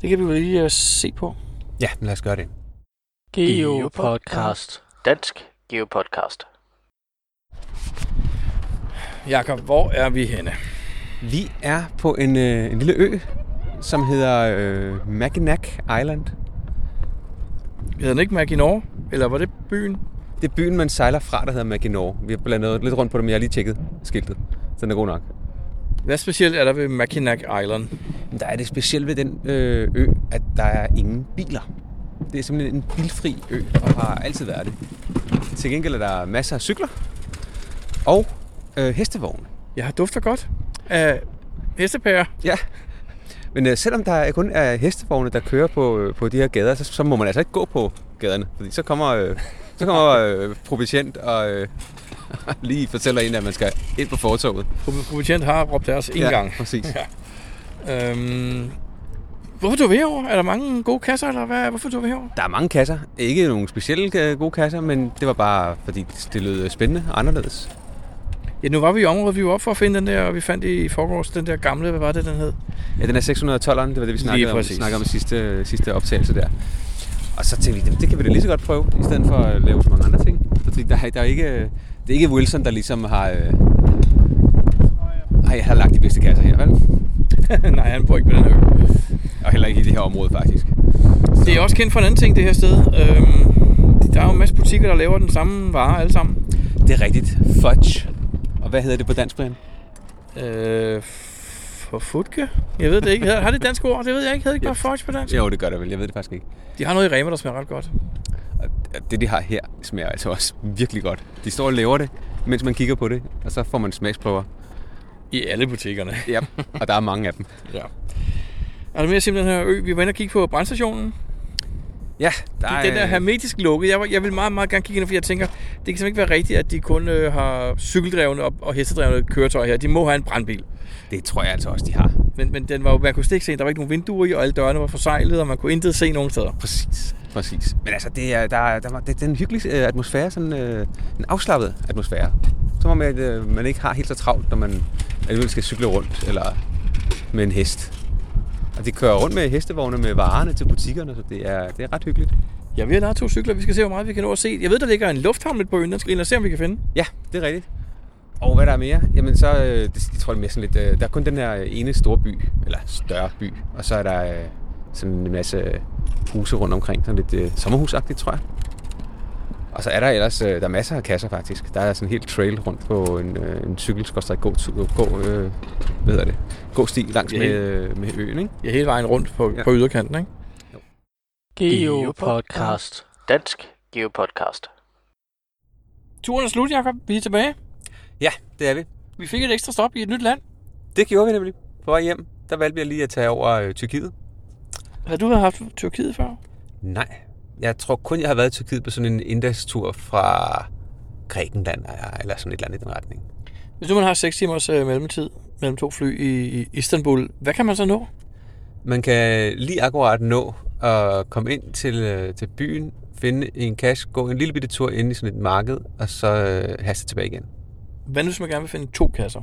[SPEAKER 2] det kan vi jo lige øh, se på.
[SPEAKER 6] Ja, men lad os gøre det.
[SPEAKER 4] Geopodcast. Dansk Geopodcast.
[SPEAKER 2] Jakob, hvor er vi henne?
[SPEAKER 6] Vi er på en, øh, en lille ø, som hedder øh, Mackinac Island.
[SPEAKER 2] Hedder den ikke Mackinac? Eller var det byen?
[SPEAKER 6] Det er byen, man sejler fra, der hedder Mackinac. Vi har blandet lidt rundt på det, men jeg har lige tjekket skiltet. Så den er god nok.
[SPEAKER 2] Hvad specielt er der ved Mackinac Island?
[SPEAKER 6] Der er det specielt ved den øh, ø, at der er ingen biler. Det er simpelthen en bilfri ø, og har altid været det. Til gengæld er der masser af cykler og øh, hestevogne.
[SPEAKER 2] Jeg dufter godt af hestepærer.
[SPEAKER 6] Ja. Men øh, selvom der kun er hestevogne, der kører på, øh, på de her gader, så, så må man altså ikke gå på gaderne. Fordi så kommer, øh, så kommer øh, proviant og øh, lige fortæller en, at man skal ind på fortoget.
[SPEAKER 2] Proviant har råbt deres en
[SPEAKER 6] Ja,
[SPEAKER 2] gang.
[SPEAKER 6] præcis.
[SPEAKER 2] Ja. Øhm, hvorfor tog vi herover? Er der mange gode kasser, eller hvad? Hvorfor tog vi herover?
[SPEAKER 6] Der er mange kasser. Ikke nogle specielle øh, gode kasser, men det var bare, fordi det lød øh, spændende og anderledes.
[SPEAKER 2] Ja, nu var vi i området, vi var op for at finde den der, og vi fandt i forgårs den der gamle, hvad var det, den hed?
[SPEAKER 6] Ja, den er 612'eren, det var det, vi snakkede om,
[SPEAKER 2] præcis.
[SPEAKER 6] snakkede om i sidste, sidste optagelse der. Og så tænkte vi, "Jamen, det kan vi da lige så godt prøve, i stedet for at lave så mange andre ting. Fordi der, er- der er ikke, det er ikke Wilson, der ligesom har, øh, har, har lagt de bedste kasser her, vel?
[SPEAKER 2] Nej, han bor ikke på den her ø.
[SPEAKER 6] Og heller ikke i det her område, faktisk.
[SPEAKER 2] Det er også kendt for en anden ting, det her sted. Øhm, der er jo en masse butikker, der laver den samme vare alle sammen.
[SPEAKER 6] Det er rigtigt. Fudge. Og hvad hedder det på dansk, Brian?
[SPEAKER 2] Øh, For futke? Jeg ved det ikke. Har det et dansk ord? Det ved jeg ikke. Hedder det ikke bare fudge på dansk?
[SPEAKER 6] Jo, det gør det vel. Jeg ved det faktisk ikke.
[SPEAKER 2] De har noget i Rema, der smager ret godt.
[SPEAKER 6] Og det, de har her, smager altså også virkelig godt. De står og laver det, mens man kigger på det, og så får man smagsprøver.
[SPEAKER 2] I alle butikkerne.
[SPEAKER 6] Ja, og der er mange af dem.
[SPEAKER 2] Ja. Er der mere at sige om den her ø? Vi var inde og kigge på brandstationen.
[SPEAKER 6] Ja,
[SPEAKER 2] der er... Den er hermetisk lukket. Jeg, var- jeg vil meget, meget gerne kigge ind, fordi jeg tænker, det kan simpelthen ikke være rigtigt, at de kun øh, har cykeldrevne og, og hestedrevne køretøjer her. De må have en brandbil.
[SPEAKER 6] Det tror jeg altså også, de har.
[SPEAKER 2] Men, men den var, jo- man kunne slet ikke se, der var ikke nogen vinduer i, og alle dørene var forsejlet, og man kunne intet se nogen steder.
[SPEAKER 6] Præcis. Præcis. Men altså, det er, der, er- der, er- det, det er en hyggelig øh, atmosfære, sådan øh, en afslappet atmosfære. Som om, at øh, man ikke har helt så travlt, når man alligevel skal cykle rundt, eller med en hest. Og de kører rundt med hestevogne med varerne til butikkerne, så det er, det er ret hyggeligt.
[SPEAKER 2] Ja, vi har lejet to cykler. Vi skal se, hvor meget vi kan nå at se. Jeg ved, der ligger en lufthavn lidt på øen. Den skal vi ind og se, om vi kan finde.
[SPEAKER 6] Ja, det er rigtigt. Og hvad der er mere? Jamen så, øh, det, jeg tror det er mere sådan lidt, øh, der er kun den her ene store by, eller større by, og så er der øh, sådan en masse øh, huse rundt omkring, sådan lidt øh, sommerhusagtigt, tror jeg. Og så er der ellers, øh, der er masser af kasser faktisk. Der er sådan en helt trail rundt på en, øh, en cykel, skal gå, gå, øh, hvad hedder det, gå sti langs
[SPEAKER 2] Ja,
[SPEAKER 6] med,
[SPEAKER 2] helt-
[SPEAKER 6] øh, med øen, ikke?
[SPEAKER 2] Ja, hele vejen rundt på,
[SPEAKER 6] Ja.
[SPEAKER 2] ja. på yderkanten, ikke?
[SPEAKER 4] Geopodcast. Dansk Geopodcast.
[SPEAKER 2] Turen er slut, Jacob. Vi er tilbage.
[SPEAKER 6] Ja, det er vi.
[SPEAKER 2] Vi fik et ekstra stop i et nyt land.
[SPEAKER 6] Det gjorde vi nemlig. På vej hjem, der valgte vi lige at tage over øh, Tyrkiet.
[SPEAKER 2] Har du haft Tyrkiet før?
[SPEAKER 6] Nej. Jeg tror kun, jeg har været i Tyrkiet på sådan en inddagstur fra Grækenland eller- eller sådan et eller andet i den retning.
[SPEAKER 2] Hvis nu man har 6 timers øh, mellemtid mellem to fly i, i Istanbul, hvad kan man så nå?
[SPEAKER 6] Man kan lige akkurat nå at komme ind til, øh, til byen, finde en cash, gå en lille bitte tur ind i sådan et marked, og så øh, haste tilbage igen.
[SPEAKER 2] Hvad nu, hvis man gerne vil finde to kasser?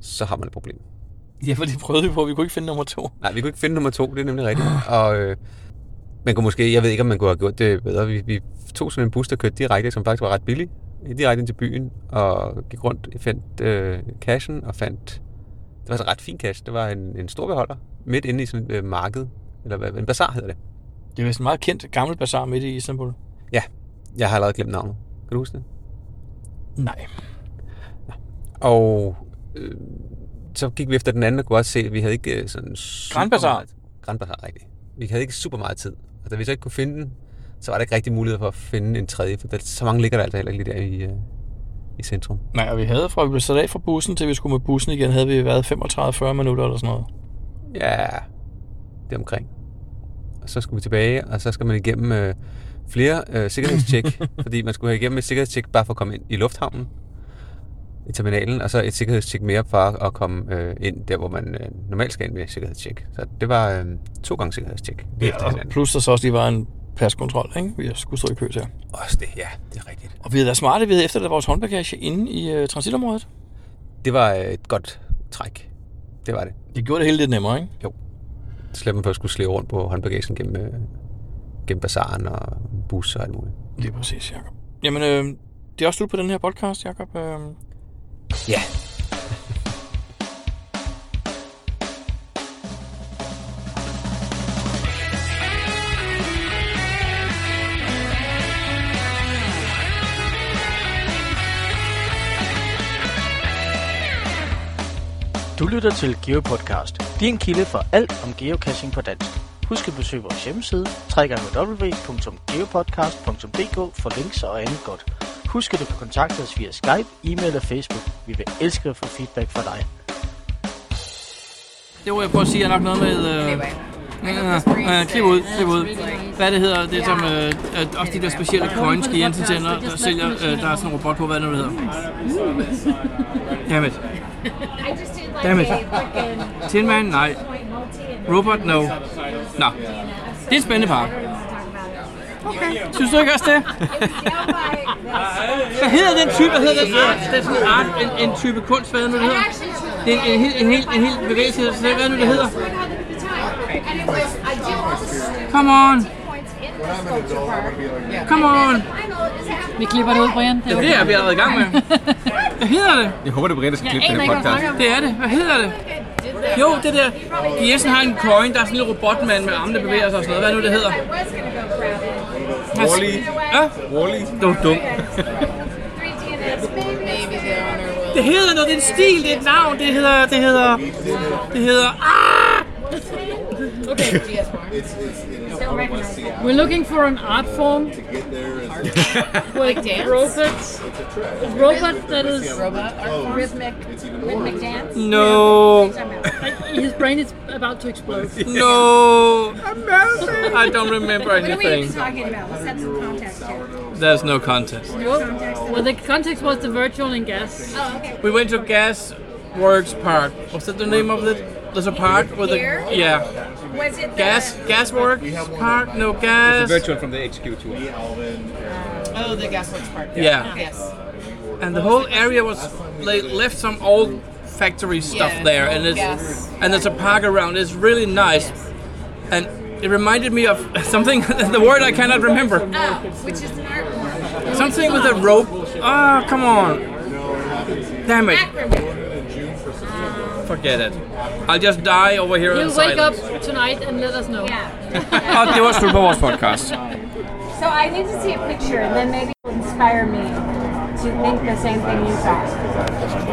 [SPEAKER 6] Så har man et problem.
[SPEAKER 2] Ja, for det prøvede vi på. Vi kunne ikke finde nummer to.
[SPEAKER 6] Nej, vi kunne ikke finde nummer to, det er nemlig rigtigt. Og øh, man kunne måske, jeg ved ikke, om man kunne have gjort det bedre. Vi, vi tog sådan en bus, der kørte direkte, som faktisk var ret billig, direkte ind til byen, og gik rundt, fandt øh, cashen og fandt, det var så ret fin cash, det var en, en stor beholder, midt inde i sådan et øh, marked, eller hvad, en bazar hedder det.
[SPEAKER 2] Det er vist en meget kendt gammel bazar midt i Istanbul.
[SPEAKER 6] Ja, jeg har allerede glemt navnet. Kan du huske det?
[SPEAKER 2] Nej.
[SPEAKER 6] Og øh, så gik vi efter den anden og kunne også se, at vi havde ikke øh, sådan... super
[SPEAKER 2] Grand Bazaar.
[SPEAKER 6] meget- Grand Bazaar, rigtigt. Vi havde ikke super meget tid. Og da vi så ikke kunne finde den, så var der ikke rigtig mulighed for at finde en tredje, for der, så mange ligger der altså heller ikke lige der i, øh, i centrum.
[SPEAKER 2] Nej, og vi havde fra, vi blev sat af fra bussen, til vi skulle med bussen igen, havde vi været 35-40 minutter eller sådan noget.
[SPEAKER 6] Ja, det er omkring. Og så skulle vi tilbage, og så skal man igennem øh, flere øh, sikkerhedstjek, fordi man skulle have igennem et sikkerhedstjek bare for at komme ind i lufthavnen, i terminalen, og så et sikkerhedstjek mere for at komme øh, ind der, hvor man øh, normalt skal ind med sikkerhedstjek. Så det var øh, to gange sikkerhedstjek. lige efter
[SPEAKER 2] Ja, og
[SPEAKER 6] hinanden.
[SPEAKER 2] plus der så også lige var en paskontrol, ikke? Vi skulle stå i kø til.
[SPEAKER 6] Også det, ja, det er rigtigt.
[SPEAKER 2] Og vi havde været smarte, vi havde efterladt vores håndbagage inde i øh, transitområdet.
[SPEAKER 6] Det var øh, et godt træk. Det var det.
[SPEAKER 2] Det gjorde det hele lidt nemmere, ikke?
[SPEAKER 6] Jo. Så slap man for at skulle slæve rundt på håndbagagen gennem, øh, gennem bazaren og bus og alt muligt.
[SPEAKER 2] Det er præcis, Jacob. Jamen, øh, det er også slut på den her podcast, Jacob. Øh,
[SPEAKER 6] Ja,
[SPEAKER 4] Du lytter til Geopodcast, din kilde for alt om geocaching på dansk. Husk at besøge vores hjemmeside, www.geopodcast.dk for links og andet godt. Husk at du kan kontakte os via Skype, e-mail og Facebook. Vi vil elske at få feedback fra dig.
[SPEAKER 5] Det ord, jeg prøver at sige, er nok noget med... Øh, øh, øh, klip ud, klip ud. Hvad det hedder, det som... Øh, øh, også de der specielle coins, de Jensen sender, der sælger... Øh, der er sådan en robot på, hvad det nu hedder. Dammit. Dammit. Tin Man, nej. Robot, no. Nå. Det er en spændende par.
[SPEAKER 8] Okay.
[SPEAKER 5] Synes du ikke også det? Hvad hedder den type? Hvad hedder den art? Det er sådan en art, en, en type kunst, hvad er det nu det hedder? Det er en, en, hel- en, hel, en hel bevægelse, hvad er det nu det hedder? Come on. Come on.
[SPEAKER 13] Vi klipper det ud, Brian.
[SPEAKER 5] Ja, det er vi allerede i gang med. Hvad hedder det?
[SPEAKER 6] Jeg håber, det bliver der skal
[SPEAKER 13] Jeg klippe aner den her ikke, hvad du podcast. snakker om.
[SPEAKER 5] Det er det. Hvad hedder det? Jo, det der. Jessen har en coin. Der er sådan en lille robotmand med armene, der bevæger sig og sådan noget. Hvad er nu, det hedder?
[SPEAKER 8] Wall-E.
[SPEAKER 5] Ja? Wall-E. Du er dum.
[SPEAKER 2] Det hedder noget, det er en stil, det er et navn, det hedder, det hedder, det hedder, ah!
[SPEAKER 5] Okay. We're looking for an art form with robots. A robot that is
[SPEAKER 9] Rhythmic, rhythmic dance.
[SPEAKER 2] No.
[SPEAKER 5] Like, his brain is about to explode.
[SPEAKER 2] No. I don't remember anything.
[SPEAKER 9] talking about? Let's have some context here.
[SPEAKER 2] There's no contest.
[SPEAKER 5] Nope. Well, the context was the virtual and gas.
[SPEAKER 9] Oh, okay.
[SPEAKER 2] We went to Gas Works Park. What's that the name of it? There's a park with a
[SPEAKER 9] Here?
[SPEAKER 2] yeah.
[SPEAKER 9] Was it the-
[SPEAKER 2] Gas Gasworks Park? No gas.
[SPEAKER 6] It's a virtual from the HQ tour.
[SPEAKER 8] Oh, the Gasworks part.
[SPEAKER 2] Yeah.
[SPEAKER 8] Yes.
[SPEAKER 2] and the whole area was they left some old factory stuff
[SPEAKER 8] Yeah,
[SPEAKER 2] there and
[SPEAKER 8] old
[SPEAKER 2] it's
[SPEAKER 8] gas.
[SPEAKER 2] and there's a park around it's really nice and it reminded me of something the word i cannot remember
[SPEAKER 9] Oh, which is an art form.
[SPEAKER 2] something with a rope ah come on damn it forget it i'll just die over here in
[SPEAKER 5] He'll wake
[SPEAKER 2] silence
[SPEAKER 5] up tonight and let us know.
[SPEAKER 2] oh, det var slut på vores podcast
[SPEAKER 9] So I need to see a picture, and then maybe it'll inspire me to think the same thing you thought.